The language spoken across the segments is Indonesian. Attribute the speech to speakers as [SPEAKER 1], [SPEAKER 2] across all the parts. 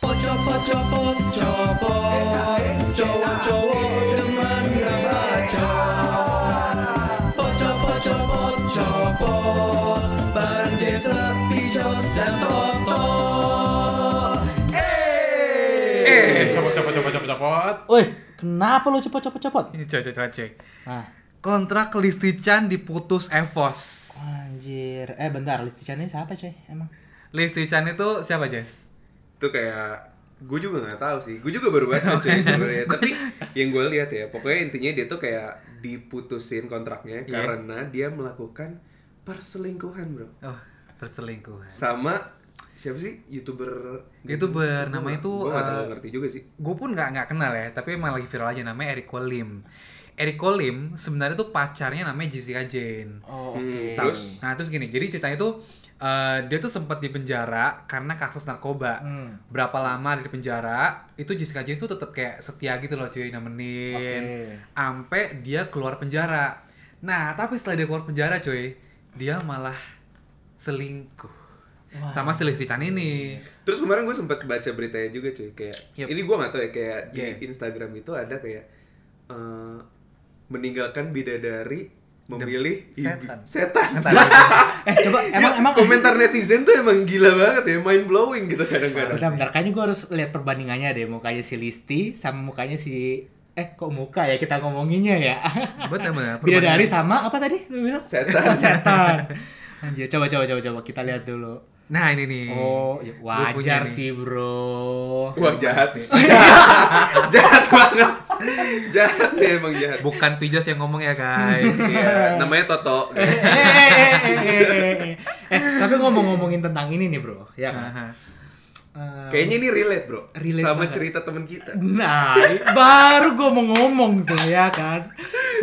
[SPEAKER 1] copot copot copot cowok cowok demen nggak baca pocok pocok pocok bareng Jason, Pijos dan Toto
[SPEAKER 2] Eh, copot copot copot copot copot.
[SPEAKER 3] Woi, kenapa lu cepet-cepet-cepet?
[SPEAKER 2] Ini cek cek cek, cek.
[SPEAKER 3] Nah,
[SPEAKER 2] Kontrak Listi Chan diputus Evos.
[SPEAKER 3] anjir. Eh, bentar, listicannya siapa, coy? Emang.
[SPEAKER 2] Listi Chan itu siapa, Jess?
[SPEAKER 4] itu kayak gue juga nggak tahu sih gue juga baru baca cuy sebenarnya tapi yang gue lihat ya pokoknya intinya dia tuh kayak diputusin kontraknya
[SPEAKER 2] Iya.
[SPEAKER 4] karena dia melakukan perselingkuhan bro
[SPEAKER 2] Oh, perselingkuhan.
[SPEAKER 4] sama siapa sih youtuber
[SPEAKER 2] YouTuber, namanya tuh,
[SPEAKER 4] gue nggak terlalu
[SPEAKER 2] eh,
[SPEAKER 4] ngerti juga sih
[SPEAKER 2] gue pun nggak nggak kenal ya tapi emang lagi viral aja namanya Erico Lim Erico Lim sebenarnya tuh pacarnya namanya Jessica Jane
[SPEAKER 3] Oh, oke.
[SPEAKER 4] Hmm, terus
[SPEAKER 2] nah terus gini jadi ceritanya tuh eh, dia tuh sempat di penjara karena kasus narkoba
[SPEAKER 3] Hmm.
[SPEAKER 2] berapa lama di penjara itu Jessica Jane tuh tetap kayak setia gitu loh cuy nemenin ampe dia keluar penjara nah tapi setelah dia keluar penjara cuy dia malah selingkuh sama si Lesti Chan ini
[SPEAKER 4] terus kemarin gue sempat baca beritanya juga cuy kayak
[SPEAKER 2] Yep. Iya.
[SPEAKER 4] ini gue nggak tahu ya kayak di
[SPEAKER 2] Yeah.
[SPEAKER 4] Instagram itu ada kayak eh, meninggalkan bidadari memilih ibu-
[SPEAKER 2] setan.
[SPEAKER 4] setan.
[SPEAKER 3] Eh, coba emang
[SPEAKER 4] Ya,
[SPEAKER 3] emang
[SPEAKER 4] komentar netizen tuh emang gila banget ya, mind blowing gitu kadang-kadang.
[SPEAKER 3] Bentar, bentar. Kayaknya gue harus lihat perbandingannya deh mukanya si Listi sama mukanya si eh kok muka ya kita ngomonginnya ya.
[SPEAKER 2] Betul, benar.
[SPEAKER 3] Bidadari sama apa tadi lu bilang?
[SPEAKER 4] Setan.
[SPEAKER 3] Setan. Anjir, coba coba coba coba kita lihat dulu.
[SPEAKER 2] nah ini nih
[SPEAKER 3] Oh, ya,
[SPEAKER 2] Gua punya
[SPEAKER 3] wajar
[SPEAKER 2] nih.
[SPEAKER 3] sih, Bro.
[SPEAKER 4] Wah jahat, jahat banget, jahat ya emang jahat.
[SPEAKER 2] Bukan Pijos yang ngomong ya guys.
[SPEAKER 4] Iya, namanya Toto. guys.
[SPEAKER 3] Eh, eh, eh, eh, eh, eh, eh. Eh, tapi ngomong-ngomongin tentang ini nih, Bro, ya kan?
[SPEAKER 2] Aha.
[SPEAKER 3] Eh,
[SPEAKER 4] Kayaknya ini relate bro,
[SPEAKER 3] Relate
[SPEAKER 4] sama
[SPEAKER 3] banget.
[SPEAKER 4] cerita temen kita.
[SPEAKER 3] Nah, baru gue mau ngomong tuh ya kan.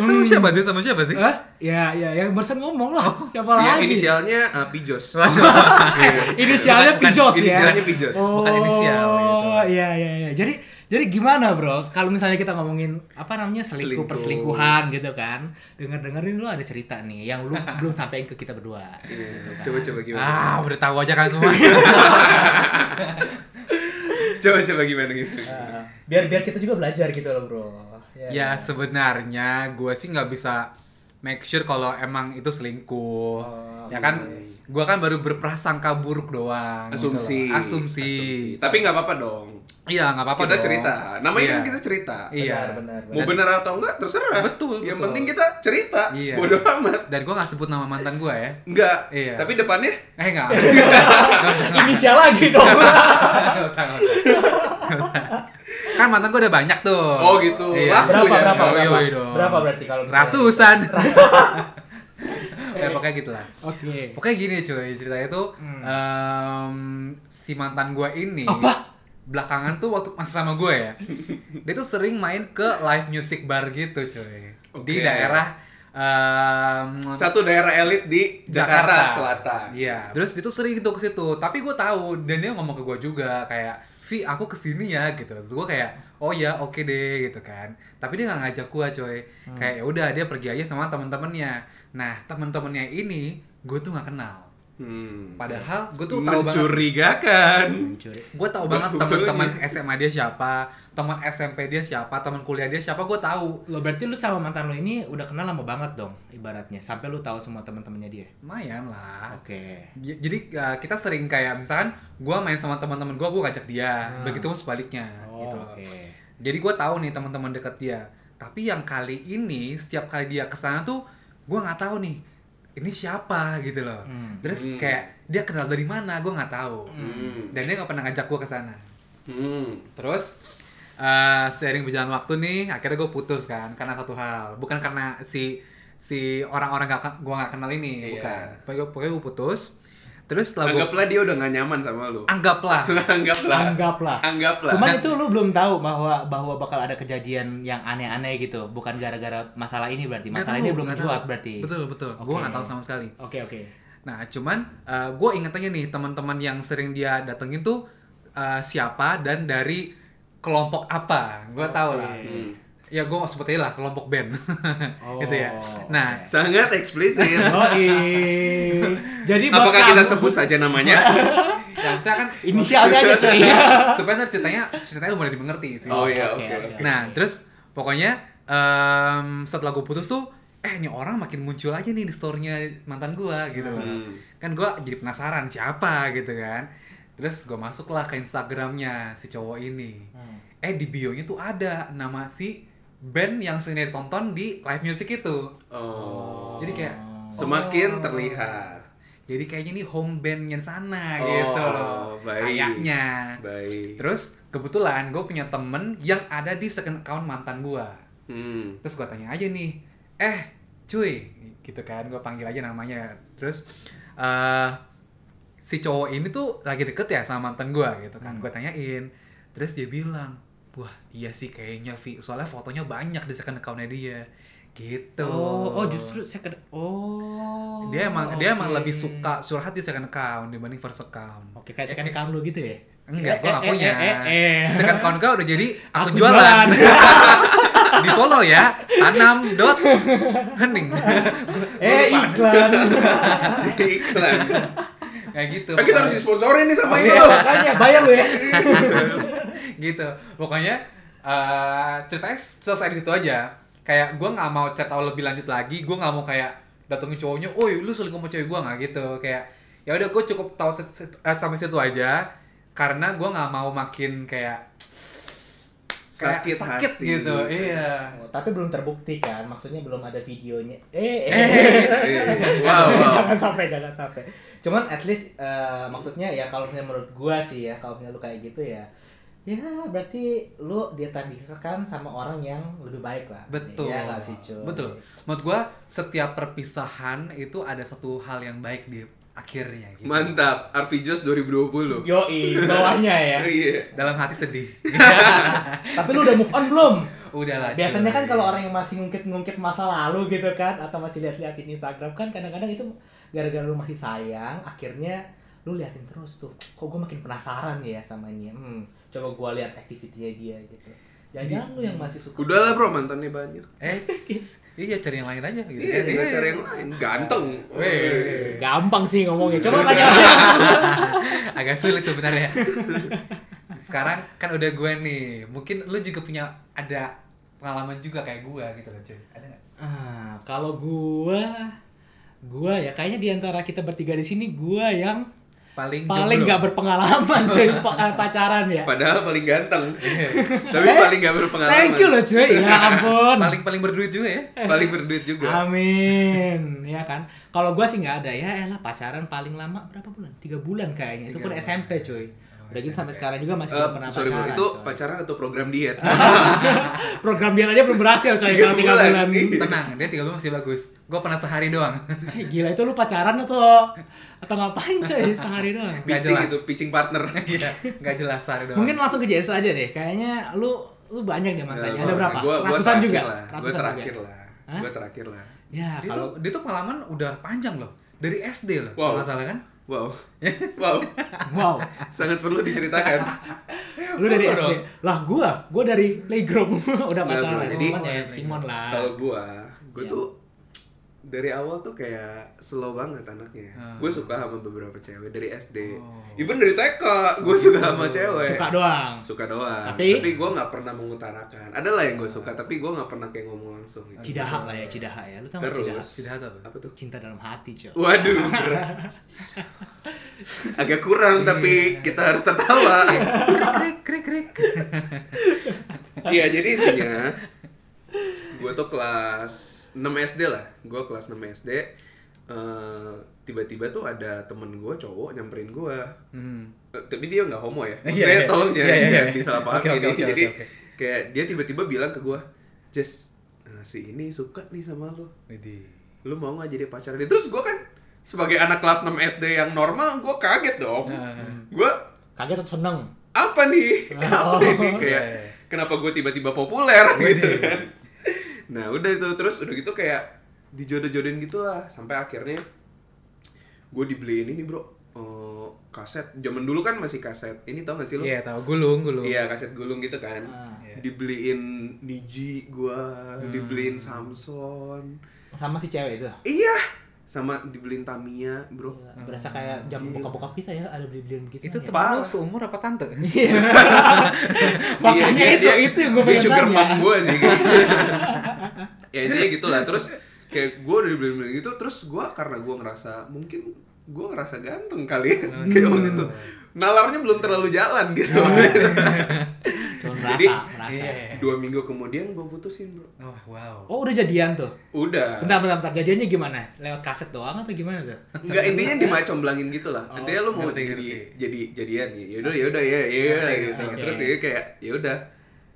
[SPEAKER 2] sama siapa sih? Sama siapa sih?
[SPEAKER 3] Eh, ya, ya, yang barusan ngomong lah. Siapa
[SPEAKER 2] Iya,
[SPEAKER 4] Ya,
[SPEAKER 3] lagi?
[SPEAKER 4] inisialnya uh, Pijos.
[SPEAKER 3] Inisialnya
[SPEAKER 2] Bukan, bukan.
[SPEAKER 3] Pijos ya.
[SPEAKER 4] Inisialnya Pijos.
[SPEAKER 3] Oh,
[SPEAKER 2] Bukan inisial, gitu.
[SPEAKER 3] Iya, iya, iya. Jadi jadi gimana, Bro? Kalau misalnya kita ngomongin apa namanya selingkuh
[SPEAKER 4] Selingkuh.
[SPEAKER 3] perselingkuhan gitu kan. Dengar-dengarin lu ada cerita nih yang lu belum sampein ke kita berdua.
[SPEAKER 2] Iya.
[SPEAKER 3] gitu kan.
[SPEAKER 4] Coba-coba gimana?
[SPEAKER 2] Ah, udah tahu aja kan semua.
[SPEAKER 4] Coba-coba gimana gitu? gimana?
[SPEAKER 3] Nah, biar biar kita juga belajar gitu loh, Bro.
[SPEAKER 2] ya sebenarnya gue sih nggak bisa make sure kalau emang itu selingkuh.
[SPEAKER 3] Oh,
[SPEAKER 2] ya kan, gue kan baru berprasangka buruk doang. gitu loh.
[SPEAKER 4] Asumsi.
[SPEAKER 2] Asumsi.
[SPEAKER 4] Tapi nggak apa-apa dong.
[SPEAKER 2] Iya nggak apa-apa
[SPEAKER 4] Kita
[SPEAKER 2] dong.
[SPEAKER 4] cerita. Namanya
[SPEAKER 2] Iya.
[SPEAKER 4] kan kita cerita.
[SPEAKER 2] Iya.
[SPEAKER 3] Benar,
[SPEAKER 4] Mau benar atau enggak terserah.
[SPEAKER 2] Betul,
[SPEAKER 4] Yang
[SPEAKER 2] betul.
[SPEAKER 4] penting kita cerita.
[SPEAKER 2] Iya.
[SPEAKER 4] Bodoh amat.
[SPEAKER 2] Dan gue nggak sebut nama mantan gue ya.
[SPEAKER 4] Enggak.
[SPEAKER 2] Iya.
[SPEAKER 4] Tapi depannya
[SPEAKER 2] Eh nggak. Nggak usah, nggak
[SPEAKER 3] Inisial lagi dong.
[SPEAKER 2] usah, nggak usah, nggak usah. Nggak usah. kan mantan gue udah banyak tuh. Iya.
[SPEAKER 4] Oh, gitu. Laku
[SPEAKER 3] berapa,
[SPEAKER 4] ya?
[SPEAKER 3] berapa,
[SPEAKER 2] Yoi,
[SPEAKER 3] berapa,
[SPEAKER 2] yoi dong.
[SPEAKER 3] berapa berarti kalau misalnya?
[SPEAKER 2] ratusan ya pokoknya gitu lah
[SPEAKER 3] Oke.
[SPEAKER 2] pokoknya gini cuy ceritanya tuh
[SPEAKER 4] Hmm.
[SPEAKER 2] em, si mantan gue ini
[SPEAKER 3] Apa?
[SPEAKER 2] belakangan tuh waktu masih sama gue ya dia tuh sering main ke live music bar gitu cuy di
[SPEAKER 4] Oke.
[SPEAKER 2] daerah em,
[SPEAKER 4] satu daerah elit di Jakarta, Selatan.
[SPEAKER 2] Iya. Terus dia tuh sering gitu ke situ. Tapi gue tahu dan dia ngomong ke gue juga kayak, Vi aku kesini ya gitu. Terus gue kayak, oh ya oke deh gitu kan. Tapi dia nggak ngajak gue coy.
[SPEAKER 4] Hmm.
[SPEAKER 2] Kayak ya udah dia pergi aja sama teman-temannya. Nah teman-temannya ini gue tuh nggak kenal.
[SPEAKER 4] Hmm.
[SPEAKER 2] Padahal gue tuh tahu banget.
[SPEAKER 4] Mencurigakan.
[SPEAKER 3] Mencuri.
[SPEAKER 2] Gue tahu banget teman-teman
[SPEAKER 3] Iya.
[SPEAKER 2] SMA dia siapa, teman SMP dia siapa, teman kuliah dia siapa gue tahu.
[SPEAKER 3] Lo berarti lu sama mantan lo ini udah kenal lama banget dong ibaratnya sampai lu tahu semua teman-temannya dia.
[SPEAKER 2] Lumayan lah.
[SPEAKER 3] Oke.
[SPEAKER 2] J- jadi uh, kita sering kayak misalkan gua main sama teman-teman gua gua ngajak dia begitu pun sebaliknya
[SPEAKER 3] Oh,
[SPEAKER 2] gitu loh
[SPEAKER 3] Ah. oke.
[SPEAKER 2] jadi gua tahu nih teman-teman dekat dia tapi yang kali ini setiap kali dia kesana tuh gua nggak tahu nih ini siapa gitu loh
[SPEAKER 3] Hmm.
[SPEAKER 2] terus
[SPEAKER 4] Hmm.
[SPEAKER 2] kayak dia kenal dari mana gua nggak tahu
[SPEAKER 4] Hmm.
[SPEAKER 2] dan dia nggak pernah ngajak gua kesana
[SPEAKER 4] Hmm.
[SPEAKER 2] terus uh, sering berjalan waktu nih akhirnya gua putus kan karena satu hal bukan karena si si orang-orang gak, gua nggak kenal ini
[SPEAKER 4] Iya.
[SPEAKER 2] bukan pokoknya, pokoknya gua putus terus setelah gua-
[SPEAKER 4] Anggaplah dia udah gak nyaman sama
[SPEAKER 2] Ah.
[SPEAKER 4] lu.
[SPEAKER 2] anggaplah
[SPEAKER 4] Anggaplah.
[SPEAKER 3] Anggaplah.
[SPEAKER 4] Anggaplah.
[SPEAKER 3] Cuman itu lu belum tahu bahwa bahwa bakal ada kejadian yang aneh-aneh gitu, bukan gara-gara masalah ini berarti.
[SPEAKER 2] Nggak
[SPEAKER 3] Masalah
[SPEAKER 2] tahu,
[SPEAKER 3] ini belum
[SPEAKER 2] nggak
[SPEAKER 3] mencuat
[SPEAKER 2] tahu.
[SPEAKER 3] berarti.
[SPEAKER 2] betul betul Gua
[SPEAKER 3] Oke.
[SPEAKER 2] gue nggak tahu sama sekali
[SPEAKER 3] Oke, oke.
[SPEAKER 2] nah cuman gue inget aja nih teman-teman yang sering dia datengin tuh eh, siapa dan dari kelompok apa gue tahu lah
[SPEAKER 4] Hmm.
[SPEAKER 2] ya gue seperti lah kelompok band gitu ya
[SPEAKER 3] Oh,
[SPEAKER 2] nah
[SPEAKER 4] Sangat eksplisit.
[SPEAKER 3] Yoi. Jadi
[SPEAKER 4] Apakah
[SPEAKER 3] bakal-
[SPEAKER 4] kita sebut saja namanya?
[SPEAKER 2] Ya, maksudnya kan
[SPEAKER 3] Inisialnya aja coy.
[SPEAKER 2] supaya ntar ceritanya ceritanya mudah dimengerti sih.
[SPEAKER 4] Oh iya,
[SPEAKER 3] Oke,
[SPEAKER 4] oke.
[SPEAKER 3] oke.
[SPEAKER 4] oke.
[SPEAKER 2] Nah, terus pokoknya em, setelah gue putus tuh, eh ini orang makin muncul aja nih di store-nya mantan gua gitu loh.
[SPEAKER 4] Hmm.
[SPEAKER 2] Kan gua jadi penasaran siapa gitu kan. Terus gue masuklah ke Instagramnya si cowok ini.
[SPEAKER 3] Hmm.
[SPEAKER 2] Eh di bio-nya tuh ada nama si band yang sering ditonton di live music itu.
[SPEAKER 4] Oh.
[SPEAKER 2] Jadi kayak oh.
[SPEAKER 4] Semakin terlihat.
[SPEAKER 2] Jadi kayaknya ini home bandnya sana
[SPEAKER 4] Oh,
[SPEAKER 2] gitu loh.
[SPEAKER 4] baik.
[SPEAKER 2] Kayaknya.
[SPEAKER 4] Baik.
[SPEAKER 2] Terus kebetulan gue punya temen yang ada di second account mantan gua.
[SPEAKER 4] Hmm.
[SPEAKER 2] Terus gue tanya aja nih, eh cuy, gitu kan, gue panggil aja namanya. Terus eh si cowok ini tuh lagi deket ya sama mantan gua gitu kan, gue tanyain. Terus dia bilang, wah iya sih kayaknya Vi, soalnya fotonya banyak di second account-nya dia. Gitu.
[SPEAKER 3] Oh, oh justru second. Oh.
[SPEAKER 2] Dia emang dia emang
[SPEAKER 3] oke.
[SPEAKER 2] lebih suka curhat di second account dibanding first account.
[SPEAKER 3] Oke, kayak second account lu gitu ya.
[SPEAKER 2] Enggak, gue
[SPEAKER 3] Eh,
[SPEAKER 2] gak
[SPEAKER 3] eh,
[SPEAKER 2] punya.
[SPEAKER 3] eh, eh, eh.
[SPEAKER 2] Second account gue udah jadi akun
[SPEAKER 3] Akun
[SPEAKER 2] jualan.
[SPEAKER 3] jualan.
[SPEAKER 2] di follow ya, tanam dot hening.
[SPEAKER 3] eh, iklan.
[SPEAKER 4] Jadi iklan.
[SPEAKER 2] Kayak gitu.
[SPEAKER 4] Eh, kita harus
[SPEAKER 2] pokoknya.
[SPEAKER 4] disponsorin nih
[SPEAKER 2] Oh,
[SPEAKER 4] sama itu
[SPEAKER 3] Iya,
[SPEAKER 4] loh.
[SPEAKER 3] makanya bayar lu ya.
[SPEAKER 2] gitu pokoknya eh ceritanya selesai di situ aja kayak gue nggak mau cerita lebih lanjut lagi gue nggak mau kayak datengin cowoknya oi lu selingkuh sama cewek gue nggak gitu kayak ya udah gue cukup tahu set- set- eh, sampai situ aja karena gue nggak mau makin kayak kayak
[SPEAKER 4] Sakit,
[SPEAKER 2] sakit
[SPEAKER 4] hati.
[SPEAKER 2] gitu iya
[SPEAKER 3] Oh, tapi belum terbukti kan, maksudnya belum ada videonya. Eh, eh.
[SPEAKER 2] eh
[SPEAKER 4] Iya. Wow, wow.
[SPEAKER 3] jangan sampai, jangan sampai. Cuman at least eh, maksudnya ya kalau misalnya menurut gua sih ya, kalau misalnya lu kayak gitu ya, ya berarti lu dia tandingkan sama orang yang lebih baik lah.
[SPEAKER 2] betul
[SPEAKER 3] Ya nggak sih cuy.
[SPEAKER 2] betul menurut gue setiap perpisahan itu ada satu hal yang baik di akhirnya gitu.
[SPEAKER 4] Mantap. Arvijos 2020.
[SPEAKER 3] Yo, bawahnya ya.
[SPEAKER 4] Iya.
[SPEAKER 2] dalam hati sedih
[SPEAKER 3] Tapi lu udah move on belum?
[SPEAKER 2] udah lah
[SPEAKER 3] Biasanya
[SPEAKER 2] cuy.
[SPEAKER 3] kan kalau orang yang masih ngungkit-ngungkit masa lalu gitu kan atau masih lihat-liatin Instagram kan kadang-kadang itu gara-gara lu masih sayang akhirnya lu liatin terus tuh. Kok gue makin penasaran ya sama ini. Hmm, coba gua lihat aktivitinya dia gitu. Jangan-jangan lu yang masih suka.
[SPEAKER 4] Udahlah bro, mantannya banyak.
[SPEAKER 2] Eh, iya cari yang lain aja gitu.
[SPEAKER 4] Iya, tinggal cari yang lain. Ganteng.
[SPEAKER 2] Weh.
[SPEAKER 3] Gampang sih ngomongnya. Coba tanya orang.
[SPEAKER 2] Agak sulit sebenarnya. Sekarang kan udah gue nih, mungkin lu juga punya ada pengalaman juga kayak gue gitu loh cuy. Ada nggak?
[SPEAKER 3] Ah, kalau gua gua ya kayaknya di antara kita bertiga di sini gua yang
[SPEAKER 2] Paling
[SPEAKER 3] paling
[SPEAKER 2] jomblo.
[SPEAKER 3] nggak berpengalaman jadi pacaran ya.
[SPEAKER 4] Padahal paling ganteng. Tapi paling gak berpengalaman.
[SPEAKER 3] Iya. Eh, Thank you loh cuy, ya ampun.
[SPEAKER 2] paling paling berduit juga ya.
[SPEAKER 4] Paling berduit
[SPEAKER 3] Ah,
[SPEAKER 4] juga.
[SPEAKER 3] Amin, ya kan. Kalau gua sih nggak ada ya, elah pacaran paling lama berapa bulan? Tiga bulan kayaknya. Itu
[SPEAKER 2] Tiga
[SPEAKER 3] pun
[SPEAKER 2] bulan.
[SPEAKER 3] SMP cuy.
[SPEAKER 4] Oh,
[SPEAKER 3] Udah gitu sampai sekarang juga masih
[SPEAKER 4] Eh,
[SPEAKER 3] belum pernah
[SPEAKER 4] sorry bro,
[SPEAKER 3] pacaran. Ah,
[SPEAKER 4] itu
[SPEAKER 3] coy.
[SPEAKER 4] pacaran atau program diet?
[SPEAKER 3] Program dia aja belum berhasil coy
[SPEAKER 4] Tiga
[SPEAKER 3] kalau tiga
[SPEAKER 4] bulan.
[SPEAKER 3] bulan.
[SPEAKER 2] Tenang, dia tiga bulan masih bagus. Gue pernah sehari doang.
[SPEAKER 3] Eh, Gila itu lu pacaran atau atau ngapain coy sehari doang?
[SPEAKER 2] Nggak
[SPEAKER 4] pitching
[SPEAKER 2] jelas.
[SPEAKER 4] itu, pitching partner.
[SPEAKER 2] Iya, nggak jelas sehari doang.
[SPEAKER 3] Mungkin langsung ke JS aja deh. Kayaknya lu lu banyak deh mantannya.
[SPEAKER 4] Ya,
[SPEAKER 3] Ada
[SPEAKER 4] gua-
[SPEAKER 3] berapa?
[SPEAKER 4] Gua, gua
[SPEAKER 3] Ratusan
[SPEAKER 4] terakhir
[SPEAKER 3] juga.
[SPEAKER 4] Lah. Gua
[SPEAKER 3] Ratusan
[SPEAKER 4] terakhir
[SPEAKER 3] juga.
[SPEAKER 4] lah.
[SPEAKER 3] Hah?
[SPEAKER 4] Gua terakhir lah.
[SPEAKER 3] Ya,
[SPEAKER 2] dia
[SPEAKER 3] kalau
[SPEAKER 2] tuh, dia tuh pengalaman udah panjang loh. Dari SD loh,
[SPEAKER 4] Wow.
[SPEAKER 2] kalau nggak salah kan?
[SPEAKER 4] Wow. Wow.
[SPEAKER 3] wow,
[SPEAKER 4] Sangat perlu diceritakan.
[SPEAKER 3] lu dari
[SPEAKER 2] Gua
[SPEAKER 3] SD.
[SPEAKER 2] dong.
[SPEAKER 3] Lah gua, gua dari playgroup udah
[SPEAKER 4] Nah,
[SPEAKER 3] pacaran.
[SPEAKER 4] bro, jadi-
[SPEAKER 3] Cuman ya, cimon lah.
[SPEAKER 4] Kalau gua, gua
[SPEAKER 3] Iya.
[SPEAKER 4] tuh dari awal tuh kayak slow banget anaknya.
[SPEAKER 2] Hmm.
[SPEAKER 4] Gue suka sama beberapa cewek dari SD.
[SPEAKER 2] Oh.
[SPEAKER 4] Even dari TK, gue suka sama cewek.
[SPEAKER 3] Suka doang.
[SPEAKER 4] Suka doang.
[SPEAKER 3] Tapi-
[SPEAKER 4] Tapi, gue nggak pernah mengutarakan. Ada lah yang gue suka, tapi gue nggak pernah kayak ngomong langsung. Gitu.
[SPEAKER 3] Cidaha lah ya, cidaha ya. Lu tau gak cidaha?
[SPEAKER 4] Terus.
[SPEAKER 2] Cidaha tuh apa?
[SPEAKER 4] Apa tuh?
[SPEAKER 3] Cinta dalam hati, coy.
[SPEAKER 4] Waduh. berat. Agak kurang tapi kita harus tertawa.
[SPEAKER 3] Iya.
[SPEAKER 2] Krik krik krik.
[SPEAKER 4] Iya, jadi intinya gue tuh kelas 6 SD lah. Gue kelas 6 SD eh, tiba-tiba tuh ada temen gue cowok nyamperin gue.
[SPEAKER 2] Hmm.
[SPEAKER 4] Eh, tapi dia nggak homo ya.
[SPEAKER 2] Iya,
[SPEAKER 4] Maksudnya
[SPEAKER 2] iya.
[SPEAKER 4] tolong
[SPEAKER 2] Iya,
[SPEAKER 4] jangan
[SPEAKER 2] iya,
[SPEAKER 4] jangan
[SPEAKER 2] iya.
[SPEAKER 4] disalahpahami
[SPEAKER 2] Oke, oke,
[SPEAKER 4] ini.
[SPEAKER 2] oke, oke,
[SPEAKER 4] Jadi
[SPEAKER 2] oke.
[SPEAKER 4] kayak dia tiba-tiba bilang ke gue, "Jess, eh, si ini suka nih sama lu."
[SPEAKER 2] Widih.
[SPEAKER 4] lu mau nggak jadi pacar dia terus gue kan sebagai anak kelas 6 SD yang normal gue kaget dong
[SPEAKER 2] Heeh.
[SPEAKER 4] gue
[SPEAKER 3] Kaget atau seneng?
[SPEAKER 4] apa nih apa ini kayak
[SPEAKER 2] Iya, iya.
[SPEAKER 4] kenapa gue tiba-tiba populer gitu kan nah udah itu terus udah gitu kayak dijodoh-jodohin gitulah sampai akhirnya gue dibeliin ini bro eh, kaset zaman dulu kan masih kaset ini tau gak sih lu
[SPEAKER 2] Iya, tahu gulung gulung.
[SPEAKER 4] Iya kaset gulung gitu kan.
[SPEAKER 3] Ah.
[SPEAKER 2] Iya.
[SPEAKER 4] Dibeliin
[SPEAKER 2] Hmm.
[SPEAKER 4] Niji gua, dibeliin Samson.
[SPEAKER 3] Sama si cewek itu.
[SPEAKER 4] Iya, sama dibeliin Tamiya bro
[SPEAKER 3] Gila, berasa kayak jam
[SPEAKER 4] Gila.
[SPEAKER 3] buka-buka kita ya ada beli-belian begitu
[SPEAKER 2] itu
[SPEAKER 3] ya.
[SPEAKER 2] teman lu seumur apa tante?
[SPEAKER 3] Iya. makanya
[SPEAKER 4] Iya,
[SPEAKER 3] itu
[SPEAKER 4] dia-
[SPEAKER 3] itu yang gue
[SPEAKER 4] dia
[SPEAKER 3] pengen
[SPEAKER 4] sugar
[SPEAKER 3] tanya.
[SPEAKER 4] mom gue sih ya intinya gitu lah terus kayak gue udah dibeliin gitu terus gue karena gue ngerasa mungkin gue ngerasa ganteng kali ya
[SPEAKER 3] Oh,
[SPEAKER 4] kayak
[SPEAKER 3] gitu.
[SPEAKER 4] waktu itu nalarnya belum terlalu jalan gitu
[SPEAKER 3] Cuma
[SPEAKER 4] Jadi- Iya.
[SPEAKER 3] merasa merasa
[SPEAKER 4] dua minggu kemudian gue putusin bro
[SPEAKER 2] Oh, wow.
[SPEAKER 3] oh udah jadian tuh
[SPEAKER 4] udah
[SPEAKER 3] bentar bentar bentar jadiannya gimana lewat kaset doang atau gimana tuh
[SPEAKER 4] Enggak intinya dimacomblangin gitu lah.
[SPEAKER 3] Oh,
[SPEAKER 4] intinya lu mau
[SPEAKER 2] ngerti,
[SPEAKER 4] jadi
[SPEAKER 2] ngerti.
[SPEAKER 4] jadi jadian ya. Yaudah yaudah ya ya udah
[SPEAKER 3] Ngerti,
[SPEAKER 4] gitu.
[SPEAKER 3] oke.
[SPEAKER 4] Terus dia kayak ya udah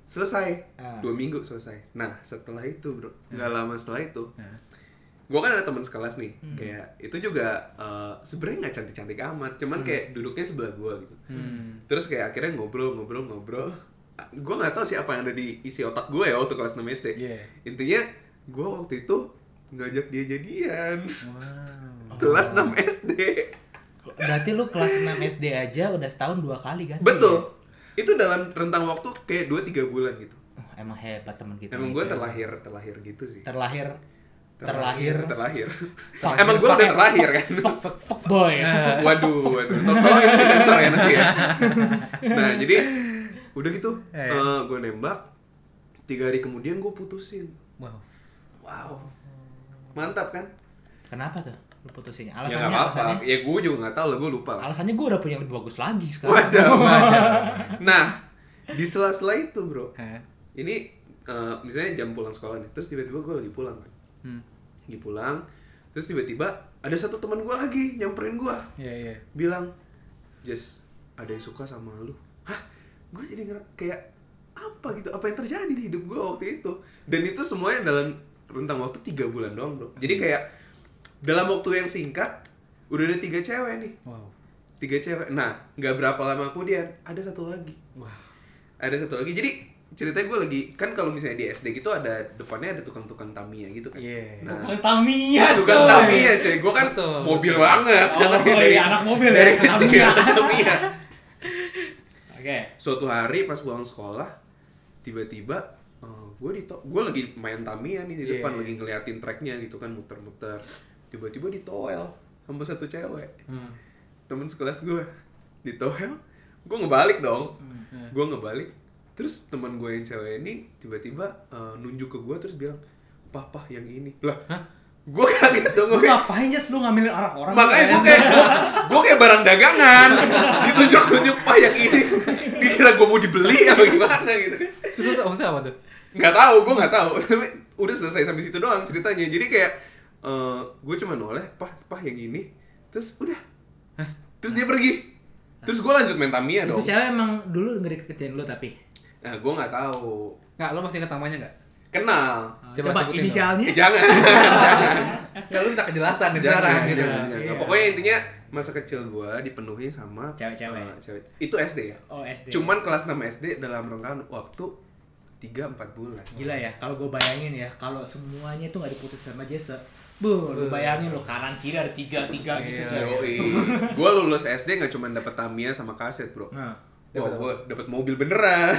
[SPEAKER 4] selesai.
[SPEAKER 3] Ah.
[SPEAKER 4] Dua minggu selesai. Nah, setelah itu, Bro. Enggak lama setelah itu.
[SPEAKER 2] Ah.
[SPEAKER 4] Gua kan ada teman sekelas nih.
[SPEAKER 3] Hmm.
[SPEAKER 4] Kayak itu juga eh, sebenarnya nggak cantik-cantik amat, cuman
[SPEAKER 3] Hmm.
[SPEAKER 4] kayak duduknya sebelah gua gitu. Terus kayak akhirnya ngobrol ngobrol ngobrol. Ah, Gua nggak tahu sih apa yang ada di isi otak gua ya waktu kelas 6 SD.
[SPEAKER 2] Iya.
[SPEAKER 4] Intinya gua waktu itu ngajak dia jadian.
[SPEAKER 2] Wow.
[SPEAKER 4] Kelas 6 SD.
[SPEAKER 3] berarti lu kelas 6 SD aja udah setahun dua kali kan
[SPEAKER 4] Betul. Itu dalam rentang waktu kayak 2-3 bulan gitu.
[SPEAKER 3] Oh, emang hebat teman kita
[SPEAKER 4] Emang
[SPEAKER 3] nih,
[SPEAKER 4] gue
[SPEAKER 3] cuy.
[SPEAKER 4] terlahir, terlahir gitu sih.
[SPEAKER 3] terlahir terlahir
[SPEAKER 4] Terlahir.
[SPEAKER 3] Terlahir.
[SPEAKER 4] Emang gue udah
[SPEAKER 3] Terlahir.
[SPEAKER 4] terlahir kan?
[SPEAKER 3] fuck fuck boy
[SPEAKER 4] Nah. waduh, waduh. Tol- Tolong itu dikensor ya nanti ya. Nah, jadi udah gitu.
[SPEAKER 3] Iya,
[SPEAKER 2] Ya, ya.
[SPEAKER 4] gue nembak. Tiga hari kemudian gue putusin.
[SPEAKER 2] Wow.
[SPEAKER 4] Wow. Mantap kan?
[SPEAKER 3] kenapa tuh lu putusinnya
[SPEAKER 4] ya
[SPEAKER 3] alasannya
[SPEAKER 4] nggak
[SPEAKER 3] alasannya
[SPEAKER 4] apa-apa. Ya gue juga nggak tahu lah, gue lupa lah.
[SPEAKER 3] alasannya gue udah punya yang lebih bagus lagi sekarang
[SPEAKER 4] Waduh, waduh. Nah, di sela-sela itu bro,
[SPEAKER 2] Hah?
[SPEAKER 4] ini eh, misalnya jam pulang sekolah nih terus tiba-tiba gue lagi pulang kan
[SPEAKER 2] Hmm.
[SPEAKER 4] lagi pulang terus tiba-tiba ada satu teman gue lagi nyamperin gue
[SPEAKER 2] Iya, iya.
[SPEAKER 4] bilang Jess ada yang suka sama lu hah gue jadi ngera- kayak apa gitu apa yang terjadi di hidup gue waktu itu dan itu semuanya dalam rentang waktu tiga bulan doang bro jadi kayak dalam waktu yang singkat udah ada tiga cewek nih
[SPEAKER 2] Wow.
[SPEAKER 4] tiga cewek nah nggak berapa lama kemudian ada satu lagi
[SPEAKER 2] Wah.
[SPEAKER 4] ada satu lagi jadi ceritanya gue lagi kan kalau misalnya di SD gitu ada depannya ada tukang-tukang Tamiya gitu kan
[SPEAKER 2] Iya.
[SPEAKER 4] nah
[SPEAKER 3] Bukan Tamiya
[SPEAKER 4] tukang
[SPEAKER 3] coy.
[SPEAKER 4] Tamiya cuy gue kan
[SPEAKER 2] Betul.
[SPEAKER 4] mobil banget
[SPEAKER 3] Oh, iya, anak mobil ya,
[SPEAKER 4] dari
[SPEAKER 3] Tamiya.
[SPEAKER 4] kecil Tamiya
[SPEAKER 3] oke
[SPEAKER 4] suatu hari pas pulang sekolah tiba-tiba gue dito gue lagi main Tamiya nih di
[SPEAKER 2] Iya, iya.
[SPEAKER 4] depan lagi ngeliatin tracknya gitu kan muter-muter tiba-tiba ditoel sama satu cewek
[SPEAKER 2] Hmm.
[SPEAKER 4] temen sekelas gue ditoel gue ngebalik dong
[SPEAKER 2] Hmm.
[SPEAKER 4] gue ngebalik terus teman gue yang cewek ini tiba-tiba eh, nunjuk ke gue terus bilang papa yang ini lah gue kaget dong
[SPEAKER 3] lu
[SPEAKER 4] gue kayak,
[SPEAKER 3] ngapain Jas lu ngambilin arak orang
[SPEAKER 4] makanya gue kayak gue kayak barang dagangan ditunjuk-tunjuk pak yang ini dikira gue mau dibeli apa gimana gitu kan
[SPEAKER 2] Terus maksudnya apa tuh?
[SPEAKER 4] nggak tahu gue nggak tahu tapi udah selesai sampai situ doang ceritanya jadi kayak gue cuma noleh pah pah yang ini terus udah terus dia pergi terus gue lanjut main Tamiya
[SPEAKER 3] itu
[SPEAKER 4] dong
[SPEAKER 3] cewek emang dulu nggak deketin lu tapi eh,
[SPEAKER 4] nah gue nggak tahu
[SPEAKER 2] Nggak, lo masih ingat namanya nggak?
[SPEAKER 4] kenal
[SPEAKER 2] Coba
[SPEAKER 3] coba,
[SPEAKER 2] sebutin
[SPEAKER 4] Eh,
[SPEAKER 3] inisialnya
[SPEAKER 4] jangan, jangan,
[SPEAKER 2] Nggak, lo minta kejelasan dari
[SPEAKER 4] jangan,
[SPEAKER 2] sekarang gitu.
[SPEAKER 4] jangan, jangan.
[SPEAKER 3] Iya.
[SPEAKER 4] Pokoknya intinya masa kecil gua dipenuhi sama
[SPEAKER 3] Cewek-cewek.
[SPEAKER 4] eh, cewek. Itu SD ya.
[SPEAKER 3] oh SD
[SPEAKER 4] Cuman kelas 6 SD dalam rentang waktu 3 4 bulan.
[SPEAKER 3] Gila ya, kalau gue bayangin ya, kalau semuanya tuh gak diputus sama Jesse Bu, lu bayangin lo kanan kiri ada tiga tiga
[SPEAKER 2] Iya.
[SPEAKER 3] gitu coy.
[SPEAKER 4] Yoi. gua lulus SD nggak cuma dapet Tamiya sama kaset, Bro.
[SPEAKER 3] Nah,
[SPEAKER 4] Wah,
[SPEAKER 2] Dapet apa?
[SPEAKER 4] gua dapet mobil beneran.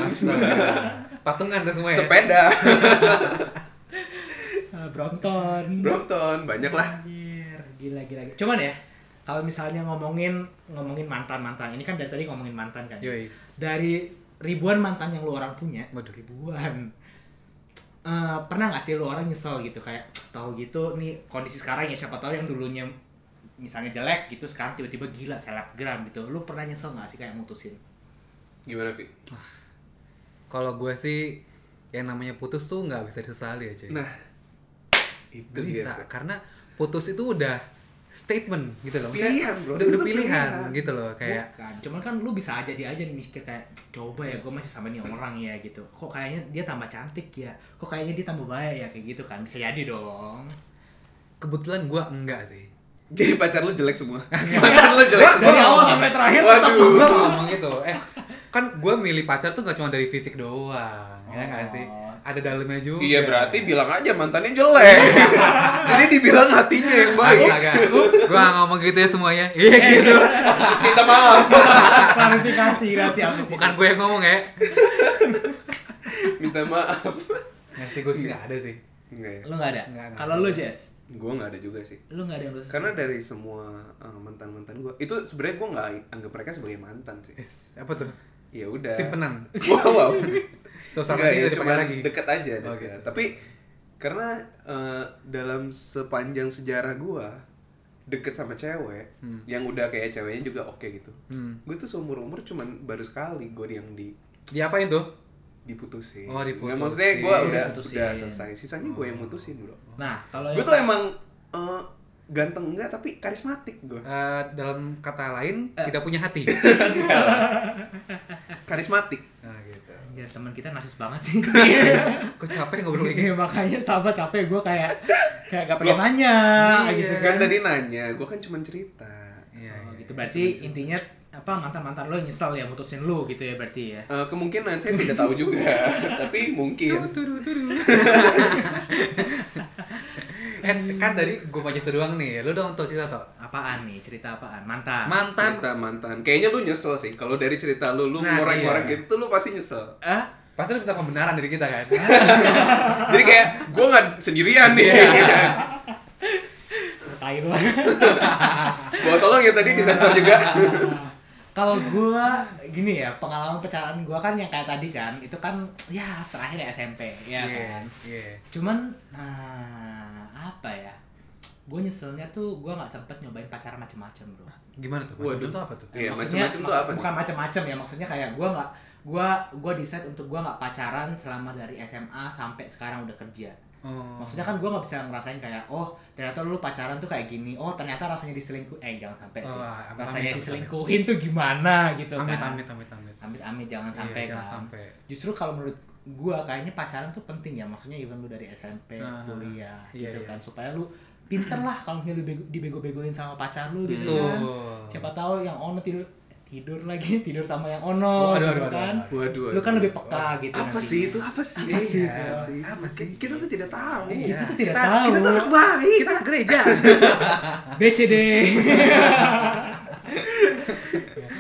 [SPEAKER 2] Patungan tuh semua ya?
[SPEAKER 4] Sepeda,
[SPEAKER 3] eh, Brompton.
[SPEAKER 4] Brompton, banyak lah.
[SPEAKER 3] Anjir, Gila, gila, gila. Cuman ya, kalau misalnya ngomongin ngomongin mantan mantan, ini kan dari tadi ngomongin mantan kan.
[SPEAKER 2] Yoi.
[SPEAKER 3] Dari ribuan mantan yang lu orang punya,
[SPEAKER 2] Waduh.
[SPEAKER 3] ribuan. Eh, pernah gak sih lu orang nyesel gitu kayak tahu gitu nih kondisi sekarang ya siapa tahu yang dulunya misalnya jelek gitu sekarang tiba-tiba gila selebgram gitu lu pernah nyesel gak sih kayak mutusin
[SPEAKER 4] Gimana, Pi?
[SPEAKER 2] Kalau gue sih yang namanya putus tuh nggak bisa disesali aja.
[SPEAKER 4] Nah, itu
[SPEAKER 2] Nggak bisa
[SPEAKER 4] dia. Bro.
[SPEAKER 2] karena putus itu udah statement gitu loh. Maksudnya
[SPEAKER 4] Pilihan, bro.
[SPEAKER 2] Udah,
[SPEAKER 4] Itu
[SPEAKER 2] udah pilihan,
[SPEAKER 4] pilihan.
[SPEAKER 2] gitu loh kayak
[SPEAKER 3] Bukan, cuman kan lu bisa aja dia aja mikir kayak coba ya gue masih sama nih orang ya gitu. Kok kayaknya dia tambah cantik ya, kok kayaknya dia tambah baik ya kayak gitu kan. Bisa jadi dong.
[SPEAKER 2] kebetulan gue enggak sih.
[SPEAKER 4] Jadi pacar lu jelek semua. Mantan lu
[SPEAKER 3] Dari
[SPEAKER 4] jelek semua.
[SPEAKER 3] awal sampai terakhir tetap
[SPEAKER 4] Waduh.
[SPEAKER 2] gue ngomong gitu eh kan gue milih pacar tuh gak cuma dari fisik doang ya gak sih
[SPEAKER 3] Oh.
[SPEAKER 2] ada dalamnya juga
[SPEAKER 4] Iya berarti bilang aja mantannya jelek. Jadi dibilang hatinya yang baik. Eh.
[SPEAKER 2] Agak, gue ngomong gitu ya semuanya Iya gitu
[SPEAKER 4] Minta maaf.
[SPEAKER 3] klarifikasi nanti apa sih?
[SPEAKER 2] Bukan gue yang ngomong ya
[SPEAKER 4] Minta maaf.
[SPEAKER 2] Ngasih gue sih gak ada sih
[SPEAKER 4] Enggak ya.
[SPEAKER 3] Lu gak ada.
[SPEAKER 2] Nggak, nggak.
[SPEAKER 3] Kalau lu Jess,
[SPEAKER 4] gue ya? nggak ada juga sih
[SPEAKER 3] Lu nggak ada yang lu
[SPEAKER 4] karena dari semua eh, mantan-mantan gue itu sebenarnya gue nggak anggap mereka sebagai mantan sih
[SPEAKER 2] Yes. Apa tuh?
[SPEAKER 4] ya udah
[SPEAKER 2] Simpenan.
[SPEAKER 4] wow, wow.
[SPEAKER 2] So, sama dia
[SPEAKER 4] Nggak, ya,
[SPEAKER 2] dipakai
[SPEAKER 4] cuman
[SPEAKER 2] lagi.
[SPEAKER 4] deket aja
[SPEAKER 2] Oh,
[SPEAKER 4] deket.
[SPEAKER 2] gitu.
[SPEAKER 4] tapi karena eh, dalam sepanjang sejarah gue deket sama cewek yang udah kayak ceweknya juga oke gitu
[SPEAKER 2] Hmm.
[SPEAKER 4] gue tuh seumur umur cuman baru sekali gue yang di
[SPEAKER 2] Diapain tuh?
[SPEAKER 4] diputusin.
[SPEAKER 2] Oh, diputusin. Oh.
[SPEAKER 4] Nggak, maksudnya gue udah
[SPEAKER 3] Diputusin.
[SPEAKER 4] udah selesai. Sisanya gue yang mutusin bro.
[SPEAKER 3] Nah, kalau
[SPEAKER 2] iya.
[SPEAKER 4] Gue tuh emang eh, ganteng enggak tapi karismatik gue.
[SPEAKER 2] Eh, dalam kata lain
[SPEAKER 3] Eh.
[SPEAKER 2] tidak punya hati.
[SPEAKER 4] Karismatik.
[SPEAKER 2] nah, gitu.
[SPEAKER 3] Anjir, teman kita narsis banget sih.
[SPEAKER 2] Kok capek ngobrol kayak gini?
[SPEAKER 3] Iya, makanya sama capek gue kayak kayak gak pengen
[SPEAKER 4] Loh.
[SPEAKER 3] nanya
[SPEAKER 2] Iya.
[SPEAKER 3] gitu kan.
[SPEAKER 4] Kan tadi nanya, gue kan cuman cerita.
[SPEAKER 2] Iya,
[SPEAKER 3] Oh,
[SPEAKER 2] iya.
[SPEAKER 3] gitu berarti intinya apa mantan-mantan lo yang nyesel ya mutusin lu gitu ya berarti ya.
[SPEAKER 4] Eh, kemungkinan saya tidak tahu juga, tapi
[SPEAKER 2] Tudu,
[SPEAKER 4] mungkin.
[SPEAKER 2] tudu, tudu. eh, kan tadi gue aja doang nih. Lu dong tau cerita tau.
[SPEAKER 3] Apaan nih? Cerita apaan? Mantan.
[SPEAKER 2] Mantan.
[SPEAKER 4] Cerita mantan. Kayaknya lu nyesel sih. Kalau dari cerita lu, lu
[SPEAKER 2] Nah,
[SPEAKER 4] ngorek-ngorek
[SPEAKER 2] iya.
[SPEAKER 4] gitu tuh lu pasti nyesel.
[SPEAKER 3] Eh?
[SPEAKER 2] Pasti lu minta pembenaran dari kita kan?
[SPEAKER 4] Jadi kayak gue nggak sendirian nih.
[SPEAKER 3] Ceritain lo.
[SPEAKER 4] Bawa tolong ya tadi di sensor juga.
[SPEAKER 3] Kalau gua gini ya, pengalaman pacaran gua kan yang kayak tadi kan, itu kan ya terakhir ya SMP
[SPEAKER 2] Iya.
[SPEAKER 3] ya kan.
[SPEAKER 2] Iya.
[SPEAKER 3] Cuman nah, apa ya? Gue nyeselnya tuh gua nggak sempet nyobain pacaran macem-macem bro.
[SPEAKER 2] Gimana tuh?
[SPEAKER 4] Waduh.
[SPEAKER 2] Waduh. Itu apa tuh?
[SPEAKER 4] Iya,
[SPEAKER 3] Maksudnya,
[SPEAKER 4] macam-macam tuh apa?
[SPEAKER 3] maks-
[SPEAKER 4] nih?
[SPEAKER 3] Bukan macem-macem ya, maksudnya kayak gua nggak gua gua decide untuk gua nggak pacaran selama dari SMA sampai sekarang udah kerja.
[SPEAKER 2] Oh.
[SPEAKER 3] Maksudnya kan gua nggak bisa ngerasain kayak oh ternyata lu pacaran tuh kayak gini. Oh ternyata rasanya diselingkuh. Eh jangan sampai sih.
[SPEAKER 2] Oh, amit-amit.
[SPEAKER 3] rasanya diselingkuhin tuh gimana gitu
[SPEAKER 2] amit,
[SPEAKER 3] kan.
[SPEAKER 2] amit, amit, amit.
[SPEAKER 3] Amit-amit jangan
[SPEAKER 2] Iya,
[SPEAKER 3] sampai
[SPEAKER 2] jangan
[SPEAKER 3] kan.
[SPEAKER 2] sampai.
[SPEAKER 3] Justru kalau menurut gua kayaknya pacaran tuh penting ya. Maksudnya even lu dari SMP,
[SPEAKER 2] Ah,
[SPEAKER 3] kuliah
[SPEAKER 2] iya,
[SPEAKER 3] gitu
[SPEAKER 2] iya.
[SPEAKER 3] kan supaya lu pinter lah kalau misalnya lu bego- dibego-begoin sama pacar lu gitu kan.
[SPEAKER 2] Tuh.
[SPEAKER 3] Siapa tahu yang ono tidur tidur lagi tidur sama yang ono
[SPEAKER 2] Waduh,
[SPEAKER 3] gitu
[SPEAKER 2] waduh, waduh,
[SPEAKER 3] kan.
[SPEAKER 2] waduh.
[SPEAKER 4] Waduh.
[SPEAKER 3] Lu kan
[SPEAKER 4] waduh.
[SPEAKER 3] lebih peka gitu
[SPEAKER 4] apa
[SPEAKER 3] nantinya.
[SPEAKER 4] sih itu apa sih
[SPEAKER 3] Apa sih?
[SPEAKER 4] Iya,
[SPEAKER 2] Apa sih?
[SPEAKER 4] Ki- kita tuh tidak tahu
[SPEAKER 3] Kita
[SPEAKER 2] Iya.
[SPEAKER 3] tuh tidak
[SPEAKER 2] Kita-
[SPEAKER 3] tahu.
[SPEAKER 4] kita tuh anak baik
[SPEAKER 2] Kita anak gereja.
[SPEAKER 3] BCD.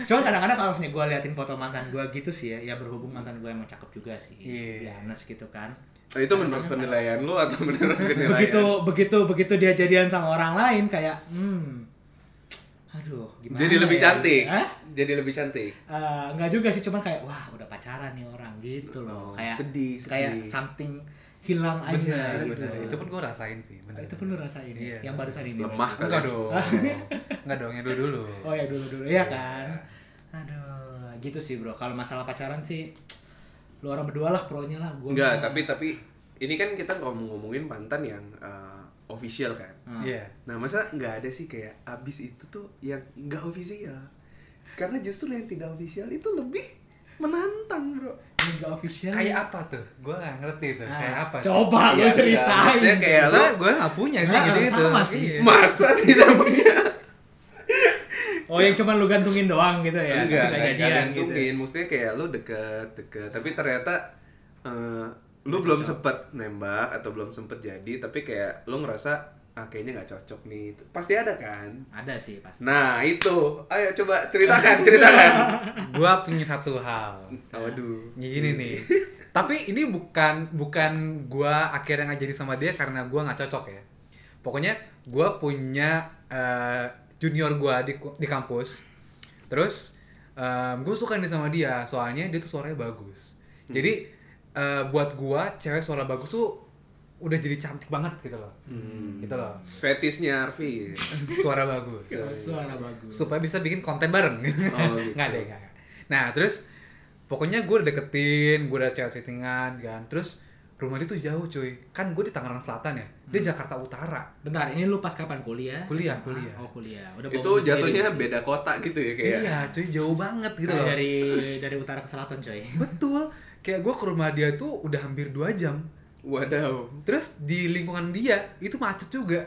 [SPEAKER 3] Cuman kadang-kadang kalau misalnya gue liatin foto mantan gue gitu sih ya, ya berhubung mantan gue emang cakep juga sih,
[SPEAKER 2] Iya.
[SPEAKER 3] yeah. gitu kan.
[SPEAKER 4] Nah, itu menurut penilaian lu atau menurut penilaian
[SPEAKER 3] Begitu begitu begitu dia jadian sama orang lain kayak, hmm, aduh, gimana?
[SPEAKER 4] jadi lebih
[SPEAKER 3] ya?
[SPEAKER 4] cantik
[SPEAKER 3] Hah?
[SPEAKER 4] jadi lebih cantik
[SPEAKER 3] Eh, nggak juga sih, cuman kayak wah udah pacaran nih orang gitu loh,
[SPEAKER 4] Oh,
[SPEAKER 3] kayak
[SPEAKER 4] sedih, sedih.
[SPEAKER 3] kayak something hilang aja.
[SPEAKER 2] Benar,
[SPEAKER 3] gitu.
[SPEAKER 2] benar. Itu pun gue rasain sih. Benar.
[SPEAKER 3] itu perlu rasain ya?
[SPEAKER 2] Iya.
[SPEAKER 3] yang barusan ini.
[SPEAKER 4] lemah kali ya.
[SPEAKER 2] Enggak dong. Enggak dong, yang dulu dulu.
[SPEAKER 3] Oh ya dulu dulu
[SPEAKER 4] Iya.
[SPEAKER 3] ya kan. Aduh, gitu sih bro. Kalau masalah pacaran sih, lu orang berdua lah pro-nya lah. Gua
[SPEAKER 4] enggak
[SPEAKER 3] mah-
[SPEAKER 4] tapi tapi ini kan kita ngomong ngomongin mantan yang eh, official kan
[SPEAKER 2] Iya.
[SPEAKER 4] nah masa nggak ada sih kayak abis itu tuh yang nggak official karena justru yang tidak official itu lebih menantang bro
[SPEAKER 3] ini nggak official.
[SPEAKER 2] Kayak apa tuh? Gue nggak ngerti tuh.
[SPEAKER 3] Ah,
[SPEAKER 2] Kayak apa?
[SPEAKER 3] Coba lu
[SPEAKER 4] Iya, iya.
[SPEAKER 3] ceritain.
[SPEAKER 4] Maksudnya kayak lu
[SPEAKER 2] Soalnya gue nggak punya sih
[SPEAKER 3] Ah,
[SPEAKER 2] gitu gitu.
[SPEAKER 3] sama sih.
[SPEAKER 4] masa tidak punya
[SPEAKER 3] Oh yang cuma lu gantungin doang gitu ya.
[SPEAKER 4] enggak
[SPEAKER 3] Kita
[SPEAKER 4] enggak
[SPEAKER 3] jadian gitu.
[SPEAKER 4] gantungin maksudnya kayak lu deket deket tapi ternyata eh, lu belum sempet nembak atau belum sempet jadi tapi kayak lu ngerasa ah kayaknya nggak cocok nih pasti ada kan
[SPEAKER 3] Ada sih pasti.
[SPEAKER 4] nah itu ayo coba ceritakan ceritakan
[SPEAKER 2] Gue punya satu hal.
[SPEAKER 4] waduh
[SPEAKER 2] Ya gini nih. Tapi ini bukan bukan gua akhirnya nggak jadi sama dia karena gua nggak cocok ya. Pokoknya gua punya eh, junior gua di di kampus. Terus gue suka nih sama dia soalnya dia tuh suaranya bagus. Jadi eh, buat gua cewek suara bagus tuh udah jadi cantik banget gitu loh. Gitu loh.
[SPEAKER 4] fetisnya Arfi
[SPEAKER 2] Suara bagus
[SPEAKER 3] Suara bagus.
[SPEAKER 2] supaya bisa bikin konten bareng
[SPEAKER 4] Oh, gitu.
[SPEAKER 2] nggak deh nggak nggak. nah terus pokoknya gue udah deketin gue udah chat settingan kan terus rumah dia tuh jauh cuy kan gue di Tangerang Selatan ya dia Jakarta Utara
[SPEAKER 3] Bentar, ini lu pas kapan kuliah?
[SPEAKER 2] Kuliah,
[SPEAKER 3] SMA?
[SPEAKER 2] kuliah.
[SPEAKER 3] Oh, kuliah. Udah
[SPEAKER 4] itu
[SPEAKER 3] bawa mobil
[SPEAKER 4] jatuhnya
[SPEAKER 3] sendiri.
[SPEAKER 4] beda kota gitu ya kayak
[SPEAKER 2] iya cuy jauh banget gitu
[SPEAKER 3] Nah,
[SPEAKER 2] loh
[SPEAKER 3] dari dari utara ke selatan, coy.
[SPEAKER 4] Iya.
[SPEAKER 2] betul kayak gue ke rumah dia tuh udah hampir dua jam
[SPEAKER 4] wadaw
[SPEAKER 2] terus di lingkungan dia itu macet juga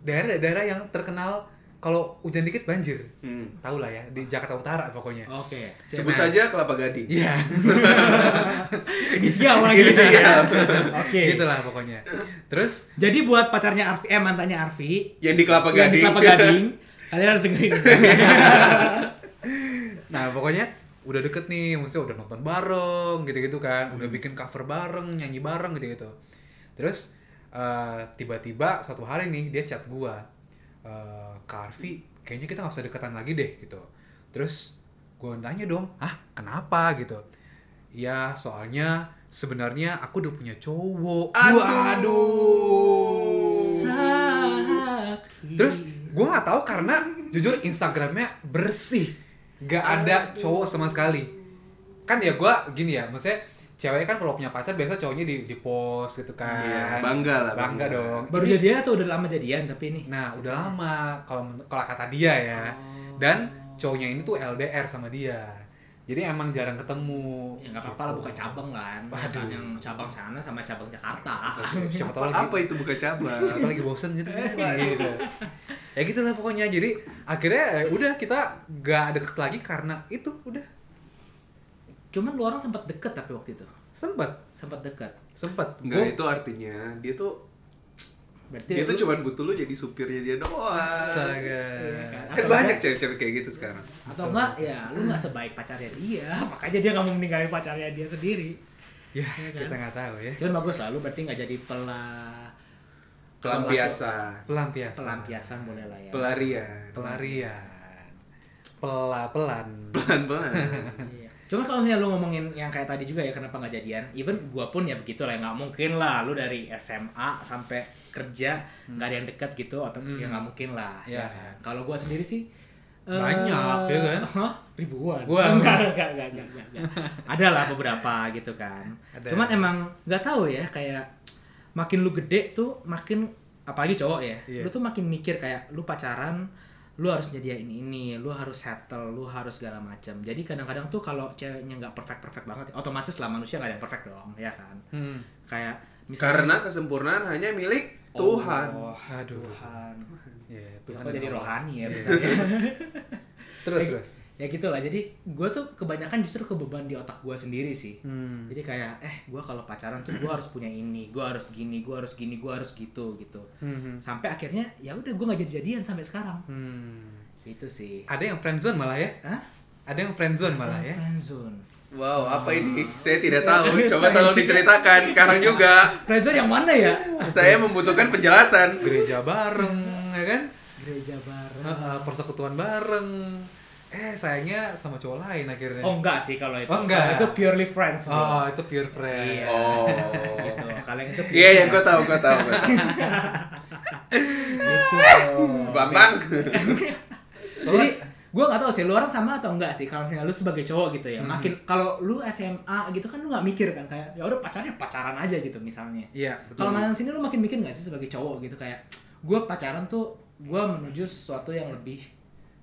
[SPEAKER 2] daerah-daerah yang terkenal kalau hujan dikit banjir
[SPEAKER 4] Hmm.
[SPEAKER 2] tahu lah ya di Jakarta Utara pokoknya
[SPEAKER 3] Oke.
[SPEAKER 4] sebut saja kelapa gading
[SPEAKER 2] iya
[SPEAKER 3] Ini sial lagi.
[SPEAKER 4] Inisial.
[SPEAKER 3] Oke.
[SPEAKER 4] Gitu.
[SPEAKER 2] gitulah gitu pokoknya terus
[SPEAKER 3] Jadi buat pacarnya Arfi, eh mantannya Arfi,
[SPEAKER 4] yang di kelapa
[SPEAKER 3] yang di
[SPEAKER 4] gading
[SPEAKER 3] Kelapa Gading, kalian harus dengerin.
[SPEAKER 2] Nah pokoknya udah deket nih, maksudnya udah nonton bareng gitu-gitu kan, udah bikin cover bareng, nyanyi bareng gitu-gitu. Terus eh, tiba-tiba satu hari nih dia chat gua eh Karvi kayaknya kita nggak bisa dekatan lagi deh gitu terus gua nanya dong ah kenapa gitu ya soalnya sebenarnya aku udah punya cowok
[SPEAKER 4] Aduh.
[SPEAKER 2] Terus gue nggak tahu karena jujur Instagramnya bersih, gak ada cowok sama sekali. Kan ya gue gini ya, maksudnya cewek kan kalau punya pacar biasa cowoknya di di post gitu kan.
[SPEAKER 4] Iya, bangga lah,
[SPEAKER 2] Bangga,
[SPEAKER 4] bangga.
[SPEAKER 2] dong.
[SPEAKER 5] Baru
[SPEAKER 2] Ini-
[SPEAKER 5] jadian atau udah lama jadian tapi ini?
[SPEAKER 2] Nah udah lama kalau men- kalau kata dia ya.
[SPEAKER 4] Oh.
[SPEAKER 2] Dan cowoknya ini tuh LDR sama dia. Jadi emang jarang ketemu. Gitu.
[SPEAKER 3] Ya nggak apa-apa lah buka cabang kan. Kan yang cabang sana sama cabang Jakarta.
[SPEAKER 2] Siapa tahu
[SPEAKER 4] Apa,
[SPEAKER 2] lagi
[SPEAKER 4] apa itu buka cabang?
[SPEAKER 2] siapa lagi bosen gitu
[SPEAKER 3] Iya,
[SPEAKER 2] Wah, gitu ya gitu lah pokoknya jadi akhirnya eh, udah kita gak deket lagi karena itu udah
[SPEAKER 3] Cuman lu orang sempat deket tapi waktu itu.
[SPEAKER 2] sempet
[SPEAKER 3] Sempat deket.
[SPEAKER 2] sempet Gua-
[SPEAKER 4] Enggak, itu artinya dia tuh
[SPEAKER 3] Berarti
[SPEAKER 4] dia tuh
[SPEAKER 3] lu-
[SPEAKER 4] cuma butuh lu jadi supirnya dia doang.
[SPEAKER 2] astaga
[SPEAKER 3] Iya
[SPEAKER 4] Kan banyak cewek-cewek kayak gitu sekarang.
[SPEAKER 3] atau enggak ya lu nggak sebaik pacarnya dia makanya dia nggak mau meninggalin pacarnya dia sendiri
[SPEAKER 2] ya
[SPEAKER 3] Iya kan?
[SPEAKER 2] kita nggak tahu ya
[SPEAKER 3] cuman bagus lah lu berarti nggak jadi pelah
[SPEAKER 4] Pelampiasan,
[SPEAKER 2] pelampiasan
[SPEAKER 3] pelampiasan boleh lah ya
[SPEAKER 4] pelarian,
[SPEAKER 2] pelarian pela pelan
[SPEAKER 4] pelan-pelan.
[SPEAKER 3] Iya. Cuman kalau misalnya lu ngomongin yang kayak tadi juga ya kenapa nggak jadian, even gua pun ya begitu lah, ya nggak mungkin lah lu dari SMA sampai kerja nggak ada yang dekat gitu atau ya nggak mungkin lah.
[SPEAKER 2] Hmm. Iya.
[SPEAKER 3] ya kan? Kalau gua sendiri sih eh,
[SPEAKER 2] Banyak, ya kan?
[SPEAKER 3] Hah? Ribuan.
[SPEAKER 2] Gua-
[SPEAKER 3] enggak, enggak, enggak, enggak, enggak, enggak. Ada lah beberapa gitu kan.
[SPEAKER 2] Ada.
[SPEAKER 3] Cuman emang nggak tahu ya kayak makin lu gede tuh makin apalagi cowok ya,
[SPEAKER 2] Iya.
[SPEAKER 3] lu tuh makin mikir kayak lu pacaran lu harus nyediain ini, lu harus settle, lu harus segala macam. Jadi kadang-kadang tuh kalau ceweknya nggak perfect perfect banget, otomatis lah manusia nggak ada yang perfect dong, ya kan?
[SPEAKER 2] hmm.
[SPEAKER 3] Kayak
[SPEAKER 4] Karena kesempurnaan hanya milik Tuhan.
[SPEAKER 3] Oh,
[SPEAKER 2] Aduh.
[SPEAKER 3] Tuhan,
[SPEAKER 2] ya Tuhan
[SPEAKER 3] Tuhan jadi
[SPEAKER 2] tahu.
[SPEAKER 3] rohani ya. bener.
[SPEAKER 2] terus terus
[SPEAKER 3] ya gitulah. Jadi gue tuh kebanyakan justru kebeban di otak gue sendiri sih.
[SPEAKER 2] hmm.
[SPEAKER 3] Jadi kayak eh gue kalau pacaran tuh gue harus punya ini, gue harus gini, gue harus gini, gue harus gitu gitu.
[SPEAKER 2] Hmm.
[SPEAKER 3] Sampai akhirnya ya udah gue nggak jadi jadian sampai sekarang.
[SPEAKER 2] Hmm.
[SPEAKER 3] Itu sih.
[SPEAKER 2] ada yang friendzone malah ya
[SPEAKER 3] Hah?
[SPEAKER 2] ada yang friendzone malah ya
[SPEAKER 3] Friendzone.
[SPEAKER 4] Wow, apa ini? Saya tidak tahu. Coba
[SPEAKER 3] Saya
[SPEAKER 4] tolong
[SPEAKER 3] juga.
[SPEAKER 4] diceritakan sekarang juga.
[SPEAKER 3] Friendzone yang mana ya?
[SPEAKER 4] Saya membutuhkan penjelasan.
[SPEAKER 2] gereja bareng ya kan
[SPEAKER 3] Gereja bareng.
[SPEAKER 2] Heeh, persekutuan bareng eh sayangnya sama cowok lain akhirnya
[SPEAKER 3] Oh enggak sih kalau itu.
[SPEAKER 2] Oh, enggak.
[SPEAKER 3] Kalau Itu purely friends. bro.
[SPEAKER 2] Oh, itu pure friend
[SPEAKER 3] Iya.
[SPEAKER 4] Oh.
[SPEAKER 3] Gitu. Kalau yang itu purely
[SPEAKER 4] Iya, yang gue tahu, gue tahu. gua tahu.
[SPEAKER 3] gitu.
[SPEAKER 4] Bambang.
[SPEAKER 3] Jadi gue gak tahu sih lu orang sama atau enggak sih kalau misalnya lu sebagai cowok gitu ya. Makin kalau lu SMA gitu kan lu nggak mikir kan kayak ya udah pacarnya pacaran aja gitu misalnya.
[SPEAKER 2] iya betul
[SPEAKER 3] Kalau main sini lu makin mikir nggak sih sebagai cowok gitu kayak gue pacaran tuh gue menuju sesuatu yang lebih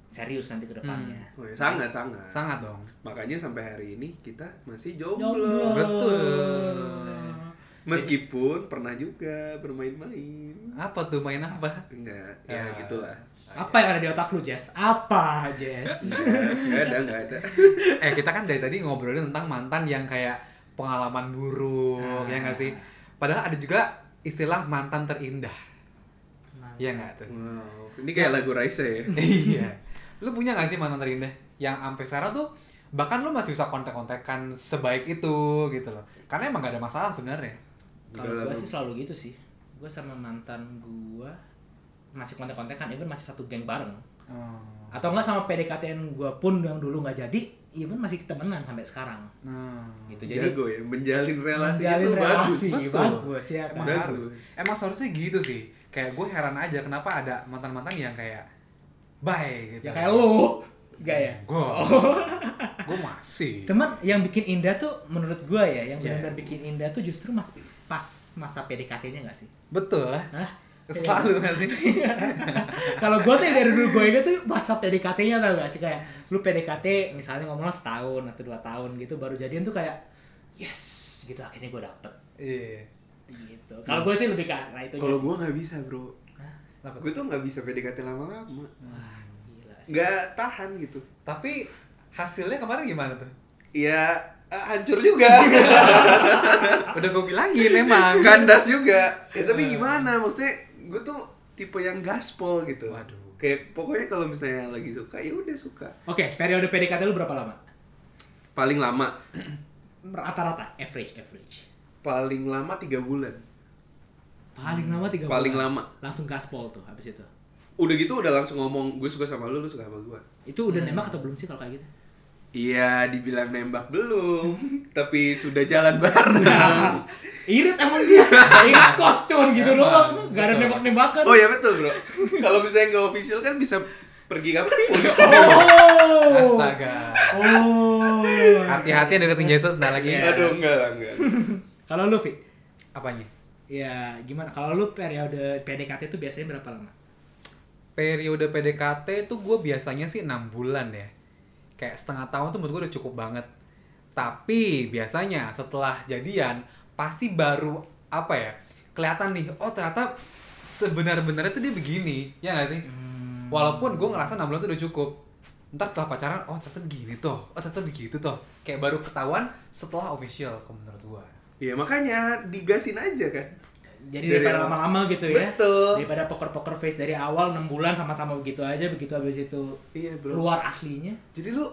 [SPEAKER 3] serius nanti ke depannya.
[SPEAKER 4] Wih, Oh, iya. Sangat, sangat.
[SPEAKER 2] sangat dong
[SPEAKER 4] Makanya sampai hari ini kita masih jomblo.
[SPEAKER 3] Jomblo.
[SPEAKER 2] Betul.
[SPEAKER 4] Meskipun pernah juga bermain-main.
[SPEAKER 2] apa tuh main apa
[SPEAKER 4] Enggak, ya
[SPEAKER 2] Ah.
[SPEAKER 4] gitulah.
[SPEAKER 3] Apa yang ada di otak lu, Jess? Apa, Jess?
[SPEAKER 4] Enggak ada, enggak ada.
[SPEAKER 2] eh kita kan dari tadi ngobrolin tentang mantan yang kayak pengalaman buruk ya nggak sih padahal ada juga istilah mantan terindah Iya nggak tuh
[SPEAKER 4] Wow, ini kayak lagu Raisa ya.
[SPEAKER 2] iya lu punya nggak sih mantan terindah yang sampai sekarang tuh bahkan lu masih bisa kontak-kontakan sebaik itu gitu loh karena emang gak ada masalah sebenarnya
[SPEAKER 3] Kalau gue sih selalu gitu sih. Gue sama mantan gue masih kontak-kontakan, even masih satu geng bareng.
[SPEAKER 2] oh.
[SPEAKER 3] Atau enggak sama PDKT-an gue pun yang dulu nggak jadi, even masih temenan sampai sekarang.
[SPEAKER 2] Hmm.
[SPEAKER 3] Gitu. Jadi
[SPEAKER 4] Jago ya, menjalin relasi
[SPEAKER 3] menjalin
[SPEAKER 4] itu
[SPEAKER 3] relasi,
[SPEAKER 4] bagus.
[SPEAKER 3] bagus.
[SPEAKER 2] Betul.
[SPEAKER 3] ya kan?
[SPEAKER 2] Emang
[SPEAKER 4] Bagus.
[SPEAKER 2] harus. Emang seharusnya gitu sih. Kayak gue heran aja kenapa ada mantan-mantan yang kayak bye gitu.
[SPEAKER 3] Ya kayak lu. Enggak ya?
[SPEAKER 2] Gue. Gue masih.
[SPEAKER 3] Cuman yang bikin indah tuh menurut gue ya, yang
[SPEAKER 2] Iya.
[SPEAKER 3] benar-benar bikin indah tuh justru mas pas masa PDKT-nya nggak sih?
[SPEAKER 2] Betul lah.
[SPEAKER 3] Hah? Iya.
[SPEAKER 2] Selalu gak sih?
[SPEAKER 3] Kalau gue tuh yang dari dulu gue inget tuh masa PDKT-nya tau gak sih kayak lu PDKT misalnya ngomonglah setahun atau dua tahun gitu baru jadian tuh kayak yes gitu akhirnya gue dapet
[SPEAKER 2] Iya.
[SPEAKER 3] gitu. Kalau gue sih lebih ke arah itu.
[SPEAKER 4] Kalau
[SPEAKER 3] sih.
[SPEAKER 4] gua nggak bisa, Bro.
[SPEAKER 2] Apa
[SPEAKER 4] Gue tuh nggak bisa PDKT lama-lama.
[SPEAKER 3] Wah, gila sih.
[SPEAKER 4] Nggak tahan gitu.
[SPEAKER 2] Tapi hasilnya kemarin gimana tuh?
[SPEAKER 4] Ya eh, hancur juga.
[SPEAKER 2] Udah gue bilangin emang.
[SPEAKER 4] Kandas juga. Iya, Ya, tapi gimana? Maksudnya gue tuh tipe yang gaspol gitu.
[SPEAKER 2] Waduh.
[SPEAKER 4] Kayak pokoknya kalau misalnya lagi suka ya udah suka.
[SPEAKER 3] Oke, periode PDKT lu berapa lama?
[SPEAKER 4] Paling lama
[SPEAKER 3] Rata-rata, average, average.
[SPEAKER 4] paling lama tiga bulan.
[SPEAKER 3] Paling lama tiga
[SPEAKER 4] Paling
[SPEAKER 3] bulan.
[SPEAKER 4] lama.
[SPEAKER 3] Langsung gaspol tuh habis itu.
[SPEAKER 4] Udah gitu udah langsung ngomong gue suka sama lu, lu suka sama gue.
[SPEAKER 3] Itu udah
[SPEAKER 2] Hmm.
[SPEAKER 3] nembak atau belum sih kalau kayak gitu?
[SPEAKER 4] Iya, dibilang nembak belum, tapi sudah jalan bareng.
[SPEAKER 3] Irit emang dia. Irit koscon gitu
[SPEAKER 2] Emang,
[SPEAKER 3] doang. Gak ada
[SPEAKER 2] betul.
[SPEAKER 3] nembak-nembakan.
[SPEAKER 4] Oh ya betul bro. Kalau misalnya nggak official kan bisa pergi kapanpun.
[SPEAKER 3] Oh.
[SPEAKER 2] Astaga.
[SPEAKER 3] Oh.
[SPEAKER 2] Hati-hati deketin Jesus nah lagi.
[SPEAKER 4] iya. Aduh enggak lah enggak.
[SPEAKER 3] Kalau lu, Fit?
[SPEAKER 2] Apanya?
[SPEAKER 3] Ya, gimana? Kalau lu periode PDKT itu biasanya berapa lama?
[SPEAKER 2] Periode PDKT tuh gue biasanya sih 6 bulan ya. Kayak setengah tahun tuh menurut gue udah cukup banget. Tapi biasanya setelah jadian pasti baru apa ya? Kelihatan nih, oh ternyata sebenar-benarnya tuh dia begini, ya nggak sih? Walaupun gue ngerasa 6 bulan tuh udah cukup. Ntar setelah pacaran, oh ternyata begini toh, oh ternyata begitu toh. Kayak baru ketahuan setelah official kalau menurut gue.
[SPEAKER 4] Iya makanya digasin aja kan.
[SPEAKER 3] Jadi
[SPEAKER 4] Dari
[SPEAKER 3] daripada
[SPEAKER 4] awal.
[SPEAKER 3] lama-lama gitu ya.
[SPEAKER 4] Betul.
[SPEAKER 3] Daripada poker-poker face dari awal 6 bulan sama-sama begitu aja, begitu habis itu
[SPEAKER 4] Iya bro.
[SPEAKER 3] keluar aslinya.
[SPEAKER 4] Jadi lu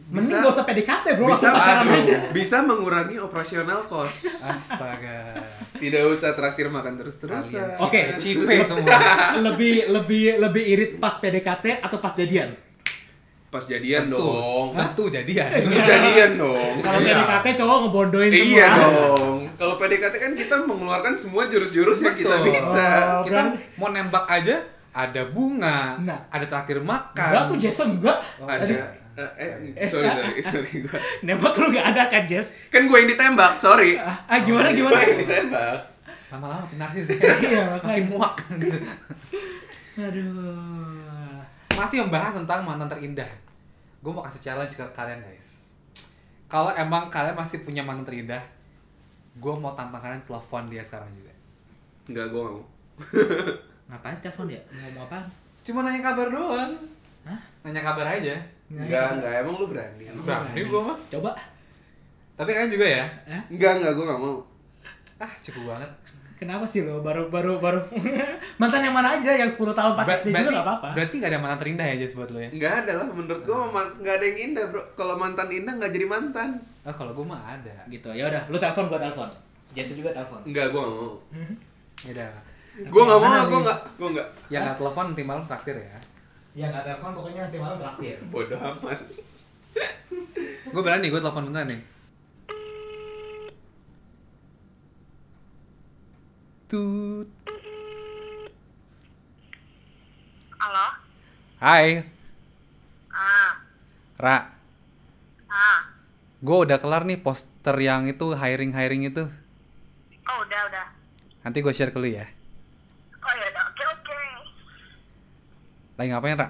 [SPEAKER 3] Mending
[SPEAKER 4] bisa
[SPEAKER 3] gak usah PDKT, Bro.
[SPEAKER 4] bisa
[SPEAKER 3] langsung pacaran
[SPEAKER 4] aduh,
[SPEAKER 3] aja.
[SPEAKER 4] bisa mengurangi operasional cost.
[SPEAKER 2] Astaga.
[SPEAKER 4] Tidak usah traktir makan ah. terus-terusan.
[SPEAKER 3] Oke.
[SPEAKER 2] Cipe semua.
[SPEAKER 3] lebih lebih lebih irit pas PDKT atau pas jadian?
[SPEAKER 4] Pas jadian
[SPEAKER 2] Tentu.
[SPEAKER 4] dong. Iya.
[SPEAKER 2] Tentu jadian.
[SPEAKER 4] Lu jadian dong.
[SPEAKER 3] Kalau
[SPEAKER 2] Iya.
[SPEAKER 3] PDKT cowok ngebondoin
[SPEAKER 4] Eh,
[SPEAKER 3] semua.
[SPEAKER 4] iya dong. Kalau PDKT kan kita mengeluarkan semua jurus-jurus yang kita
[SPEAKER 2] Betul.
[SPEAKER 3] Oh,
[SPEAKER 4] bisa.
[SPEAKER 2] Kita
[SPEAKER 3] berarti-
[SPEAKER 2] mau nembak aja ada bunga,
[SPEAKER 3] Nah.
[SPEAKER 2] ada traktir makan.
[SPEAKER 3] Enggak tuh Jason enggak.
[SPEAKER 4] Oh, Ada eh eh, sorry sorry sorry gua.
[SPEAKER 3] Nembak lu enggak ada kan, Jess?
[SPEAKER 4] Kan gue yang ditembak, sorry.
[SPEAKER 3] Ah, ah, gimana
[SPEAKER 4] Gue yang
[SPEAKER 3] gimana?
[SPEAKER 4] ditembak.
[SPEAKER 2] Lama-lama makin narsis. makin
[SPEAKER 3] Iya, makanya.
[SPEAKER 2] muak.
[SPEAKER 3] Aduh.
[SPEAKER 2] Masih membahas tentang mantan terindah. Gue mau kasih challenge ke kalian guys. Kalau emang kalian masih punya mantan terindah, gue mau tantang kalian telepon dia sekarang juga.
[SPEAKER 4] Enggak, gue gak mau.
[SPEAKER 3] Ngapain telepon ya? Mau Ngomong apa?
[SPEAKER 2] Cuma nanya kabar doang.
[SPEAKER 3] Hah?
[SPEAKER 2] Nanya kabar aja.
[SPEAKER 4] Enggak, enggak. Emang lu berani?
[SPEAKER 2] Berani gue mah.
[SPEAKER 3] ya. Coba.
[SPEAKER 2] Tapi kalian juga ya?
[SPEAKER 4] Enggak, enggak. Gue gak mau.
[SPEAKER 2] Ah, cukup banget.
[SPEAKER 3] Kenapa sih lo baru baru baru mantan yang mana aja yang 10 tahun pas
[SPEAKER 2] Ber-
[SPEAKER 3] SD juga
[SPEAKER 2] berarti,
[SPEAKER 3] nggak apa-apa.
[SPEAKER 2] berarti gak ada mantan terindah ya Jess buat lo ya?
[SPEAKER 4] Enggak ada lah. Menurut gue enggak ada yang indah, bro. Kalau mantan indah enggak jadi mantan.
[SPEAKER 2] Ah, kalau gue mah ada.
[SPEAKER 3] Gitu. Ya udah, lu telepon gua telepon. Jason juga telepon.
[SPEAKER 4] Enggak, gue gak mau.
[SPEAKER 3] Hmm?
[SPEAKER 2] Ya udah.
[SPEAKER 4] Gue gak mau,
[SPEAKER 3] Mana
[SPEAKER 4] gue
[SPEAKER 3] nih?
[SPEAKER 4] gak. Gue gak.
[SPEAKER 2] Yang nggak telepon nanti malam traktir ya.
[SPEAKER 3] Ya nggak telepon pokoknya nanti malam terakhir.
[SPEAKER 4] Bodoh amat.
[SPEAKER 3] Iya,
[SPEAKER 2] Gue berani, gue telepon bentar nih. Tut.
[SPEAKER 6] Halo?
[SPEAKER 2] Hai,
[SPEAKER 6] Ah,
[SPEAKER 2] Ra.
[SPEAKER 6] ah.
[SPEAKER 2] Gue udah kelar nih poster yang itu hiring-hiring itu.
[SPEAKER 6] Oh, udah, udah.
[SPEAKER 2] Nanti gue share ke lu ya.
[SPEAKER 6] Oh, ya udah. Oke, oke.
[SPEAKER 2] Lagi ngapain, Ra?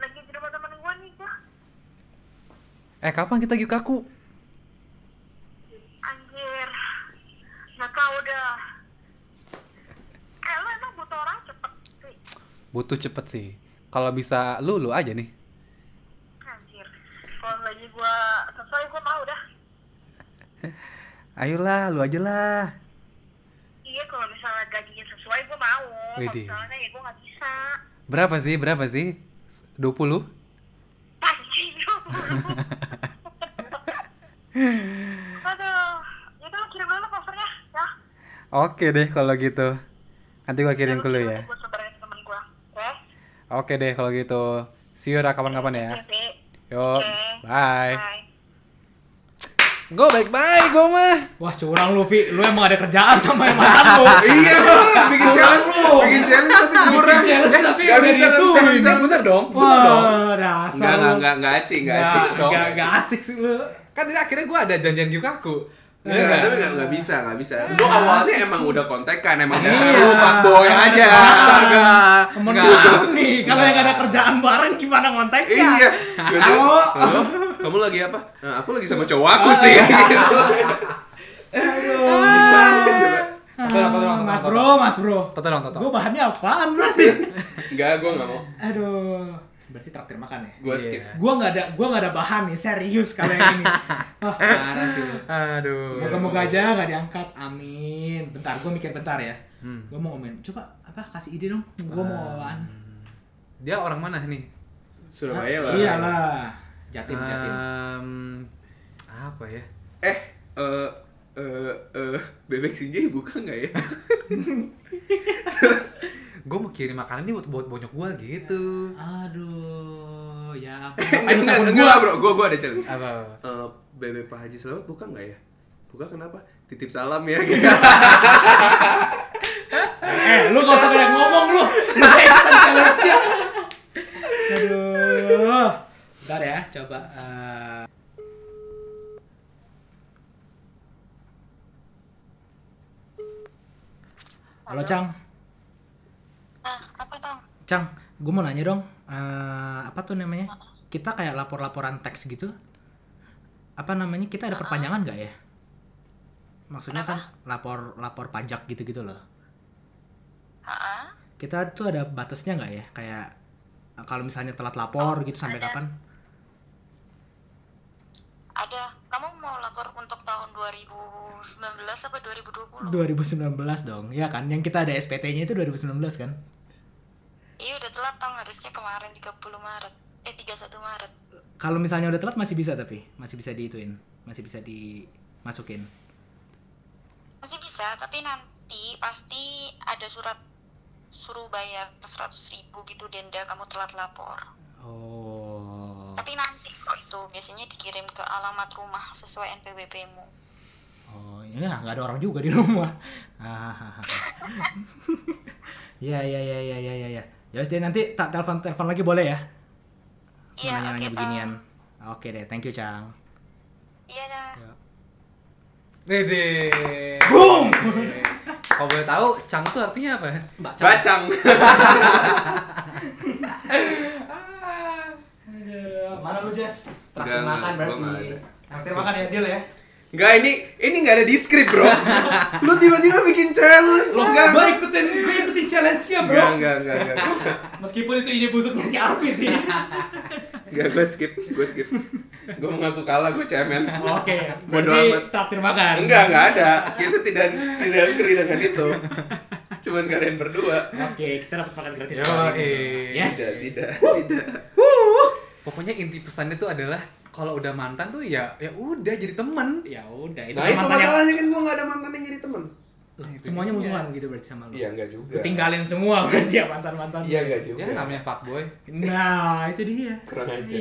[SPEAKER 6] Lagi di rumah temen gue nih, gue.
[SPEAKER 2] Eh, kapan kita Gyukaku?
[SPEAKER 6] Anjir. Nggak tahu udah. Eh, lo emang butuh orang cepet sih.
[SPEAKER 2] Butuh cepet sih. Kalau bisa lu, lu aja nih.
[SPEAKER 6] Anjir. Kalau lagi gue selesai, gue mau dah.
[SPEAKER 2] Ayolah, lu aja lah.
[SPEAKER 6] Iya, kalau misalnya gajinya sesuai, gue mau. Kalau
[SPEAKER 2] Widih.
[SPEAKER 6] misalnya ya gue nggak bisa.
[SPEAKER 2] Berapa sih? Berapa sih? S- 20?
[SPEAKER 6] Anjing dong. Aduh. Ya udah, kirim dulu posternya, ya.
[SPEAKER 2] Oke deh kalau gitu. Nanti gue kirim ke lu ya.
[SPEAKER 6] Gue sebarin temen gue. Ya.
[SPEAKER 2] Oke deh kalau gitu. See you Ra kapan-kapan ya. Yo, Oh,
[SPEAKER 6] Oke.
[SPEAKER 2] bye.
[SPEAKER 6] Bye.
[SPEAKER 2] Gue baik-baik gue mah.
[SPEAKER 3] Wah, curang lu, Vi. Lu emang ada kerjaan sama yang mantan lu.
[SPEAKER 4] Iya, bro. Bikin challenge, bikin challenge tapi curang.
[SPEAKER 3] challenge
[SPEAKER 4] Eh,
[SPEAKER 3] tapi
[SPEAKER 4] nggak
[SPEAKER 3] udah
[SPEAKER 4] bisa, nggak
[SPEAKER 3] itu.
[SPEAKER 4] bisa, nggak bisa.
[SPEAKER 2] Bentar dong, bentar dong.
[SPEAKER 3] Wah, dasar
[SPEAKER 4] Enggak, enggak,
[SPEAKER 3] lu.
[SPEAKER 4] enggak, enggak acing, enggak
[SPEAKER 3] Nggak,
[SPEAKER 4] acing.
[SPEAKER 3] nggak, nggak asik sih lu.
[SPEAKER 2] Kan tadi akhirnya gue ada janjian Gyukaku.
[SPEAKER 4] Enggak, enggak, Iya, tapi enggak, enggak bisa, enggak bisa. Gue awalnya emang udah kontekan, emang dasar lu
[SPEAKER 3] Iya.
[SPEAKER 4] fuckboy aja.
[SPEAKER 2] Ah. Astaga.
[SPEAKER 3] Temen
[SPEAKER 2] Nggak.
[SPEAKER 3] duduk nih, kalau yang nggak ada kerjaan bareng gimana kontaknya?
[SPEAKER 4] Iya. Halo. Kamu lagi apa? Nah, aku lagi sama cowok
[SPEAKER 3] Oh,
[SPEAKER 4] aku sih.
[SPEAKER 3] iya.
[SPEAKER 4] gitu. Gimana coba?
[SPEAKER 3] Ah,
[SPEAKER 2] Tolong, tolong, tolong,
[SPEAKER 3] mas
[SPEAKER 2] tolong.
[SPEAKER 3] bro, mas bro.
[SPEAKER 2] Toto dong, Toto.
[SPEAKER 3] Gue bahannya apaan berarti?
[SPEAKER 4] Enggak, gue nggak mau.
[SPEAKER 3] Aduh. Berarti traktir makan ya?
[SPEAKER 4] Gue skip.
[SPEAKER 2] Iya.
[SPEAKER 3] Gue nggak ada, gua nggak ada bahan nih, serius kalau yang ini. Wah, parah sih lu.
[SPEAKER 2] Aduh.
[SPEAKER 3] Moga-moga aja nggak diangkat, amin. Bentar, gue mikir bentar ya.
[SPEAKER 2] Hmm.
[SPEAKER 3] Gue mau ngomongin, coba apa kasih ide dong? Gue mau apaan?
[SPEAKER 2] Dia orang mana nih?
[SPEAKER 4] Surabaya lah.
[SPEAKER 3] Ah, Iya, Iyalah, jatim, jatim.
[SPEAKER 2] Em, apa ya?
[SPEAKER 4] Eh, eh, eh, eh, bebek sinjai buka nggak ya?
[SPEAKER 2] gue mau kirim makanan nih buat buat bonyok gue gitu
[SPEAKER 3] Ah. Aduh, ya
[SPEAKER 4] Eh, enggak, enggak, bro, gue gua ada challenge.
[SPEAKER 2] apa
[SPEAKER 4] Eh, Bebe Pak Haji Selamat buka nggak ya? Buka kenapa? Titip salam ya.
[SPEAKER 3] Eh, lu gak usah banyak ngomong lu. Lu kayak ikutan challenge-nya. Aduh. Bentar ya, coba. eh. Halo, Cang.
[SPEAKER 6] Ah, apa tong?
[SPEAKER 3] Cang, gue mau nanya dong. eh, apa tuh namanya? Kita kayak lapor-laporan teks gitu. Apa namanya? Kita ada perpanjangan nggak ya? Maksudnya kan lapor lapor pajak gitu-gitu loh.
[SPEAKER 6] Ah,
[SPEAKER 3] kita tuh ada batasnya nggak ya kayak eh, kalau misalnya telat lapor gitu sampai
[SPEAKER 6] ada.
[SPEAKER 3] kapan
[SPEAKER 6] ada. Kamu mau lapor untuk tahun 2019 apa 2020?
[SPEAKER 3] 2019 dong ya kan yang kita ada SPT-nya itu 2019 kan
[SPEAKER 6] Iya udah telat tong harusnya kemarin 30 Maret. Eh 31 Maret.
[SPEAKER 3] kalau misalnya udah telat masih bisa tapi masih bisa diituin masih bisa dimasukin
[SPEAKER 6] Masih bisa, tapi nanti pasti ada surat suruh bayar 100 ribu gitu denda kamu telat lapor.
[SPEAKER 3] oh
[SPEAKER 6] Tapi nanti kok itu biasanya dikirim ke alamat rumah sesuai NPWP-mu.
[SPEAKER 3] oh ya nggak ada orang juga di rumah Hahaha. ya ya ya ya ya ya ya ya wes deh, nanti tak telepon telepon lagi boleh ya
[SPEAKER 6] Iya,
[SPEAKER 3] nanya nanya
[SPEAKER 6] oke,
[SPEAKER 3] beginian
[SPEAKER 6] Tom.
[SPEAKER 3] oke deh thank you cang
[SPEAKER 6] Iya dah.
[SPEAKER 2] Dede.
[SPEAKER 3] Boom!
[SPEAKER 2] Kalau boleh tahu, cang tuh artinya apa?
[SPEAKER 4] Bacang.
[SPEAKER 3] Aduh, mana lu Jess?
[SPEAKER 4] Enggak,
[SPEAKER 3] Traktir
[SPEAKER 4] enggak,
[SPEAKER 3] makan
[SPEAKER 4] gua
[SPEAKER 3] berarti.
[SPEAKER 4] enggak ada.
[SPEAKER 3] Traktir makan ya deal ya.
[SPEAKER 4] Enggak, ini ini nggak ada di script, bro. Lu tiba-tiba bikin challenge.
[SPEAKER 3] Loh,
[SPEAKER 4] Enggak,
[SPEAKER 3] gue ikutin gue ikutin challenge-nya, Bro.
[SPEAKER 4] enggak, enggak, enggak, enggak.
[SPEAKER 3] Meskipun itu ide busuknya si Arfi sih.
[SPEAKER 4] Enggak, gue skip, gue skip. Gue mengaku kalah, gue cemen.
[SPEAKER 3] Oke,
[SPEAKER 4] Bodo
[SPEAKER 3] berarti
[SPEAKER 4] amat.
[SPEAKER 3] traktir makan.
[SPEAKER 4] Enggak, enggak ada. Kita tidak tidak agree dengan itu. Cuman kalian berdua.
[SPEAKER 3] Oke, kita dapat makan gratis.
[SPEAKER 2] Yo,
[SPEAKER 3] kali ini.
[SPEAKER 2] eh.
[SPEAKER 3] Yes.
[SPEAKER 4] Tidak, tidak, tidak.
[SPEAKER 2] Pokoknya inti pesannya tuh adalah kalau udah mantan tuh ya ya udah jadi temen.
[SPEAKER 3] Ya udah, itu kan
[SPEAKER 4] Nah, itu
[SPEAKER 3] mantan yang-
[SPEAKER 4] masalahnya kan gue nggak ada mantan yang jadi teman.
[SPEAKER 3] Loh, semuanya musuhan gitu berarti sama lu.
[SPEAKER 4] Iya, enggak juga.
[SPEAKER 3] Lu Tinggalin semua berarti ya mantan-mantan.
[SPEAKER 4] Iya, enggak juga.
[SPEAKER 2] Ya kan namanya fuckboy.
[SPEAKER 3] Nah, itu dia.
[SPEAKER 4] Kurang aja.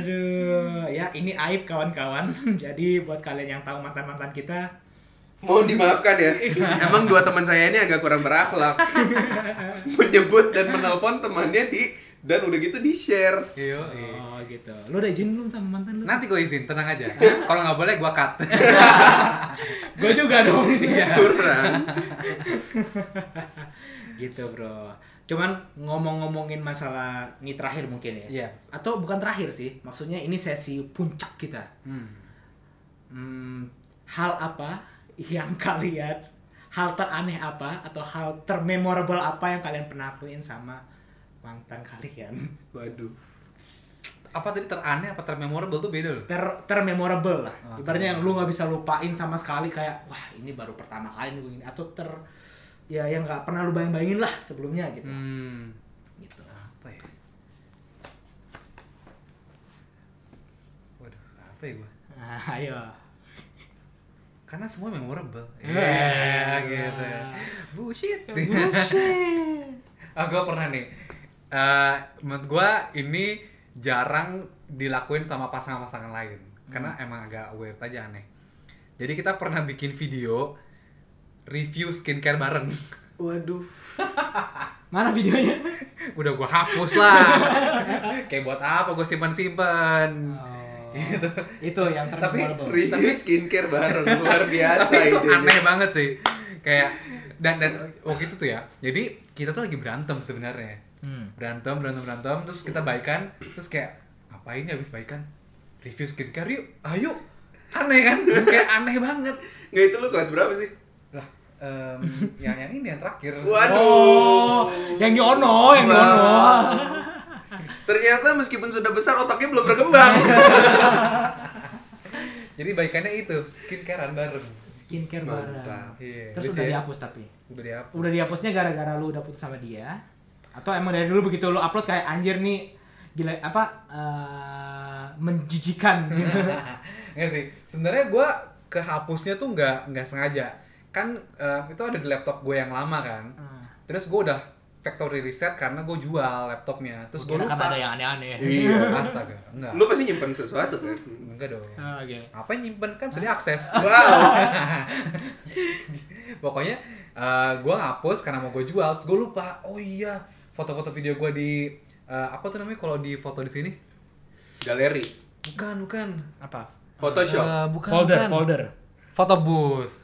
[SPEAKER 3] Aduh, ya ini aib kawan-kawan. Jadi buat kalian yang tahu mantan-mantan kita,
[SPEAKER 4] Mohon dimaafkan ya. Emang dua teman saya ini agak kurang berakhlak. Menyebut dan menelpon temannya di dan udah gitu di share.
[SPEAKER 2] Yo, eh.
[SPEAKER 3] oh gitu. Lu udah izin belum sama mantan lu?
[SPEAKER 2] Nanti gue izin, tenang aja. Kalau nggak boleh gue cut.
[SPEAKER 3] gue juga dong
[SPEAKER 2] Iya.
[SPEAKER 4] Curang.
[SPEAKER 3] gitu bro cuman ngomong-ngomongin masalah ini terakhir mungkin ya
[SPEAKER 2] Iya.
[SPEAKER 3] atau bukan terakhir sih maksudnya ini sesi puncak kita
[SPEAKER 2] Hmm.
[SPEAKER 3] Hmm, hal apa yang kalian hal teraneh apa atau hal termemorable apa yang kalian pernah lakuin sama mantan kalian
[SPEAKER 4] Waduh.
[SPEAKER 2] Apa tadi teraneh apa termemorable tuh beda loh.
[SPEAKER 3] ter termemorable lah
[SPEAKER 2] Ah,
[SPEAKER 3] ibaratnya yang lu nggak bisa lupain sama sekali kayak wah ini baru pertama kali nih gue ini atau ter ya yang nggak pernah lu bayang-bayangin lah sebelumnya gitu
[SPEAKER 2] Hmm.
[SPEAKER 3] gitu
[SPEAKER 2] Apa ya? Waduh, apa ya gue?
[SPEAKER 3] Ah, ayo
[SPEAKER 2] Karena semua memorable. Ya,
[SPEAKER 3] Eh.
[SPEAKER 2] gitu. Bullshit.
[SPEAKER 3] Bullshit.
[SPEAKER 2] Ah, gue pernah nih. Eh, menurut gue ini jarang dilakuin sama pasangan-pasangan lain. Karena emang agak weird aja aneh. Jadi kita pernah bikin video review skincare bareng.
[SPEAKER 4] Waduh.
[SPEAKER 3] Mana videonya?
[SPEAKER 2] Udah gue hapus lah. Kayak buat apa gue simpen-simpen.
[SPEAKER 3] Oh.
[SPEAKER 2] Gitu.
[SPEAKER 3] Itu yang
[SPEAKER 2] Tapi
[SPEAKER 3] termemorable.
[SPEAKER 4] Review skincare bareng luar biasa
[SPEAKER 2] Tapi itu
[SPEAKER 4] idenya.
[SPEAKER 2] aneh banget sih. Kayak dan dan waktu itu tuh ya. Jadi kita tuh lagi berantem sebenarnya.
[SPEAKER 3] Hmm.
[SPEAKER 2] Berantem, berantem, berantem terus kita baikan, terus kayak ngapain ya habis baikan? Review skincare yuk. Ayo. Aneh kan? kayak aneh banget.
[SPEAKER 4] Nggak itu lu kelas berapa sih?
[SPEAKER 2] Lah, em, yang yang ini yang terakhir.
[SPEAKER 4] Waduh.
[SPEAKER 3] Oh, yang di ono, yang di
[SPEAKER 4] Wow.
[SPEAKER 3] ono.
[SPEAKER 4] Ternyata meskipun sudah besar otaknya belum berkembang.
[SPEAKER 2] Jadi baikannya itu skincarean bareng.
[SPEAKER 3] Skincare
[SPEAKER 4] Mantap.
[SPEAKER 3] bareng.
[SPEAKER 2] Iya.
[SPEAKER 3] Terus
[SPEAKER 2] lucu
[SPEAKER 3] udah
[SPEAKER 2] ya.
[SPEAKER 3] dihapus tapi.
[SPEAKER 2] Udah dihapus.
[SPEAKER 3] Udah dihapusnya gara-gara lu udah putus sama dia atau emang dari dulu begitu lu upload kayak anjir nih gila apa eh, menjijikan gitu.
[SPEAKER 2] Nah, Nggak sih. Sebenarnya gue kehapusnya tuh nggak nggak sengaja. kan eh, itu ada di laptop gue yang lama kan terus gue udah factory reset karena gue jual laptopnya terus gue
[SPEAKER 3] Kira kan
[SPEAKER 2] lupa
[SPEAKER 3] ada yang aneh-aneh.
[SPEAKER 2] iya astaga enggak
[SPEAKER 4] Lu pasti nyimpan sesuatu kan?
[SPEAKER 2] enggak dong
[SPEAKER 3] Ah, Oke.
[SPEAKER 2] apa yang nyimpen kan bisa diakses
[SPEAKER 4] Wow.
[SPEAKER 2] pokoknya gue hapus karena mau gue jual terus gue lupa oh iya foto-foto video gue di eh, apa tuh namanya kalau di foto di sini
[SPEAKER 4] Galeri.
[SPEAKER 2] bukan bukan
[SPEAKER 3] Apa?
[SPEAKER 4] Photoshop.
[SPEAKER 2] Eh, bukan
[SPEAKER 3] Folder,
[SPEAKER 2] bukan.
[SPEAKER 3] folder.
[SPEAKER 2] foto booth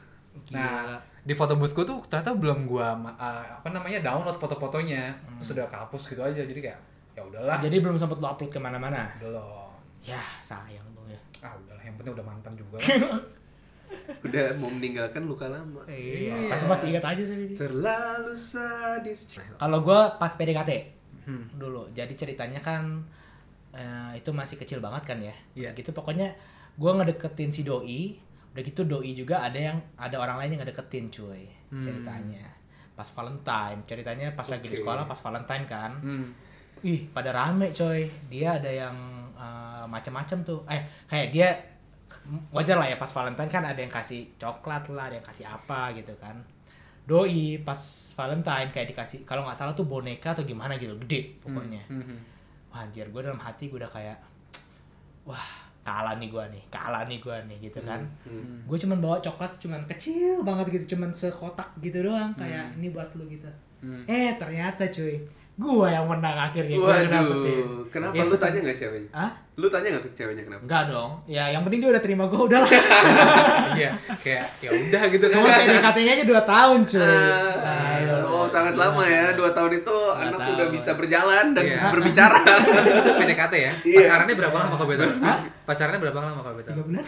[SPEAKER 2] nah di foto booth gue tuh ternyata belum gue apa namanya download foto-fotonya terus udah kehapus gitu aja jadi kayak ya udahlah
[SPEAKER 3] Jadi belum sempat lo upload kemana-mana.
[SPEAKER 2] belum
[SPEAKER 3] Ah. Ya sayang dong ya.
[SPEAKER 2] ah udahlah yang penting udah mantan juga
[SPEAKER 4] Udah mau meninggalkan luka lama.
[SPEAKER 3] Iya. Tapi masih ingat aja tadi.
[SPEAKER 4] Terlalu sadis.
[SPEAKER 3] Kalau gue pas PDKT dulu, jadi ceritanya kan eh, itu masih kecil banget kan ya.
[SPEAKER 2] Iya.
[SPEAKER 3] Gitu pokoknya gue ngedeketin si doi, udah gitu doi juga ada yang ada orang lain yang ngedeketin cuy ceritanya. Pas Valentine, ceritanya pas lagi di
[SPEAKER 4] Oke.
[SPEAKER 3] sekolah pas Valentine kan.
[SPEAKER 2] hmm.
[SPEAKER 3] Ih, pada rame coy. Dia ada yang eh, macam-macam tuh. Eh, kayak dia wajar lah ya pas Valentine kan ada yang kasih coklat lah, ada yang kasih apa gitu kan. Doi pas Valentine kayak dikasih kalau nggak salah tuh boneka atau gimana gitu, gede pokoknya.
[SPEAKER 2] Mhm.
[SPEAKER 3] Wah, anjir gue dalam hati gue udah kayak wah, kalah nih gue nih, kalah nih gue nih gitu kan. Gue cuman bawa coklat cuman kecil banget gitu, cuman sekotak gitu doang kayak ini buat lu gitu.
[SPEAKER 2] Hmm.
[SPEAKER 3] Eh, ternyata cuy, gue yang menang akhirnya. Gua yang dapetin.
[SPEAKER 4] Waduh. Kenapa
[SPEAKER 3] Itu
[SPEAKER 4] lu
[SPEAKER 3] kan-
[SPEAKER 4] tanya nggak ceweknya?
[SPEAKER 3] Hah?
[SPEAKER 4] Lu tanya nggak ke ceweknya kenapa?
[SPEAKER 3] Enggak dong. Ya, yang penting dia udah terima gue udah lah.
[SPEAKER 2] iya kayak ya udah gitu kan
[SPEAKER 3] Cuma PDKT-nya aja 2 tahun cuy.
[SPEAKER 4] Ah, oh
[SPEAKER 3] Iya,
[SPEAKER 4] sangat lama ya dua tahun itu anak
[SPEAKER 3] tahu.
[SPEAKER 4] udah bisa berjalan dan
[SPEAKER 2] Iya.
[SPEAKER 4] berbicara
[SPEAKER 2] itu PDKT ya
[SPEAKER 4] Iya.
[SPEAKER 2] pacarannya berapa lama kau betul pacarannya berapa lama kau betul
[SPEAKER 3] 3 bulan.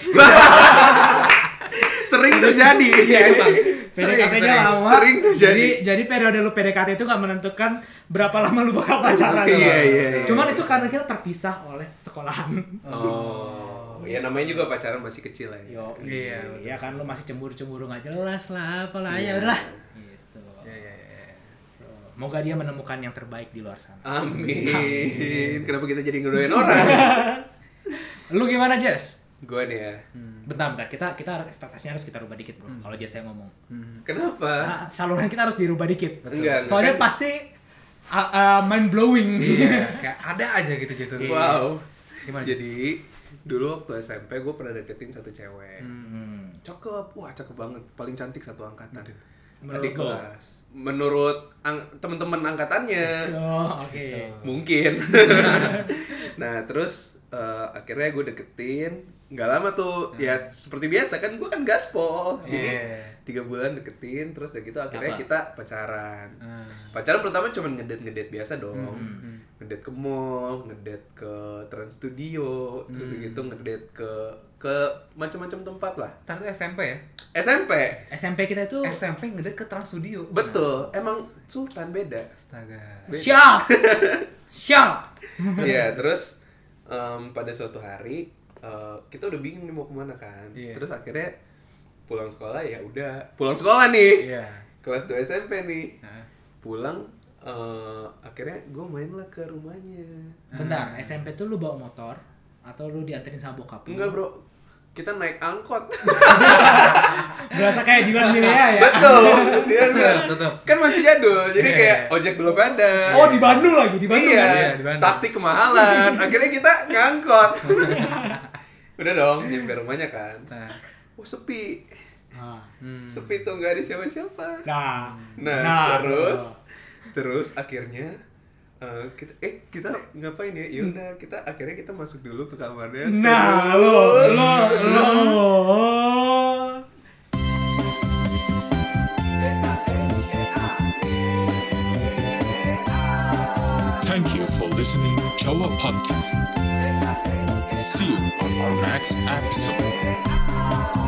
[SPEAKER 4] sering terjadi
[SPEAKER 2] iya emang Sering, ya?
[SPEAKER 3] PDKT-nya
[SPEAKER 2] sering.
[SPEAKER 3] lama.
[SPEAKER 4] Sering tuh
[SPEAKER 3] jadi
[SPEAKER 4] jadi.
[SPEAKER 3] jadi periode lu PDKT itu gak menentukan berapa lama lu bakal pacaran.
[SPEAKER 4] Iya, iya, iya.
[SPEAKER 3] Cuman itu karena kita terpisah oleh sekolahan.
[SPEAKER 4] oh ya namanya juga pacaran masih kecil lah ya
[SPEAKER 3] Yo,
[SPEAKER 2] Iya,
[SPEAKER 3] iya,
[SPEAKER 2] betul.
[SPEAKER 3] iya kan lu masih cemburu-cemburu nggak jelas lah, apalah
[SPEAKER 4] Iya.
[SPEAKER 3] ya udahlah. Gitu.
[SPEAKER 2] Iya, iya, iya.
[SPEAKER 3] Moga dia menemukan yang terbaik di luar sana.
[SPEAKER 4] amin kenapa kita jadi ngedoain orang
[SPEAKER 3] Lu gimana, Jess?
[SPEAKER 4] gue nih ya
[SPEAKER 3] Bentar, bentar. Kita kita harus ekspektasinya harus kita rubah dikit,
[SPEAKER 4] Hmm.
[SPEAKER 3] Bro. Kalau Jess yang ngomong.
[SPEAKER 4] kenapa
[SPEAKER 3] Nah, saluran kita harus dirubah dikit.
[SPEAKER 4] Enggak, enggak.
[SPEAKER 3] Soalnya pasti uh, uh, mind blowing.
[SPEAKER 2] Iya, kayak ada aja gitu Jason
[SPEAKER 4] wow
[SPEAKER 2] Gimana,
[SPEAKER 4] jadi dulu waktu SMP gue pernah deketin satu cewek
[SPEAKER 3] Hmm.
[SPEAKER 4] cakep wah cakep banget paling cantik satu angkatan
[SPEAKER 3] Menurut
[SPEAKER 4] adik
[SPEAKER 3] lo?
[SPEAKER 4] kelas menurut ang- teman-teman angkatannya
[SPEAKER 3] Oh, oke.
[SPEAKER 2] Gitu.
[SPEAKER 4] Gitu. mungkin nah terus eh, akhirnya gue deketin nggak lama tuh
[SPEAKER 3] Hmm.
[SPEAKER 4] ya seperti biasa kan gue kan gaspol jadi
[SPEAKER 2] Iya.
[SPEAKER 4] tiga bulan deketin terus udah gitu akhirnya
[SPEAKER 3] Apa?
[SPEAKER 4] kita pacaran
[SPEAKER 2] Hmm.
[SPEAKER 4] pacaran pertama cuman ngedet ngedet biasa dong
[SPEAKER 3] Hmm,
[SPEAKER 4] ngedet ke mall ngedet ke trans studio terus
[SPEAKER 2] Hmm.
[SPEAKER 4] udah gitu ngedet ke ke macam-macam tempat lah
[SPEAKER 2] Ntar tuh SMP ya?
[SPEAKER 4] SMP
[SPEAKER 3] SMP kita itu
[SPEAKER 2] SMP ngedate ke Trans Studio
[SPEAKER 4] betul emang Sultan beda
[SPEAKER 2] Astaga
[SPEAKER 4] Beda.
[SPEAKER 3] Syah. Syah.
[SPEAKER 4] Iya, terus em, pada suatu hari eh, kita udah bingung nih mau kemana kan.
[SPEAKER 2] Iya.
[SPEAKER 4] Terus akhirnya pulang sekolah ya udah pulang sekolah nih
[SPEAKER 2] Iya
[SPEAKER 4] kelas 2 SMP nih
[SPEAKER 2] Nah.
[SPEAKER 4] pulang eh, akhirnya gue main lah ke rumahnya.
[SPEAKER 3] Bentar, SMP tuh lu bawa motor atau lu dianterin sama bokap? lu?
[SPEAKER 4] Enggak bro, kita naik angkot.
[SPEAKER 3] Berasa kayak Dilan Milea ya.
[SPEAKER 4] Betul, dia bilang.
[SPEAKER 2] Tutup, tutup.
[SPEAKER 4] kan masih jadul, jadi
[SPEAKER 2] Iya,
[SPEAKER 4] kayak ojek belum ada.
[SPEAKER 3] Oh, di Bandung lagi, di Bandung.
[SPEAKER 4] iya,
[SPEAKER 3] kan?
[SPEAKER 2] Iya, di Bandung.
[SPEAKER 4] taksi kemahalan. Akhirnya kita ngangkot. Udah dong, nyampe rumahnya kan.
[SPEAKER 2] Nah,
[SPEAKER 4] Wah sepi,
[SPEAKER 3] Ah.
[SPEAKER 2] hmm.
[SPEAKER 4] sepi tuh nggak ada siapa-siapa.
[SPEAKER 3] Nah.
[SPEAKER 4] Nah,
[SPEAKER 3] Nah,
[SPEAKER 4] terus, terus akhirnya eh, kita, eh kita ngapain ya? Ya udah, kita akhirnya kita masuk dulu ke kamarnya.
[SPEAKER 3] Nah, lo
[SPEAKER 4] Terus-
[SPEAKER 3] lo lo.
[SPEAKER 7] Thank you for listening to our podcast. See you on our next episode.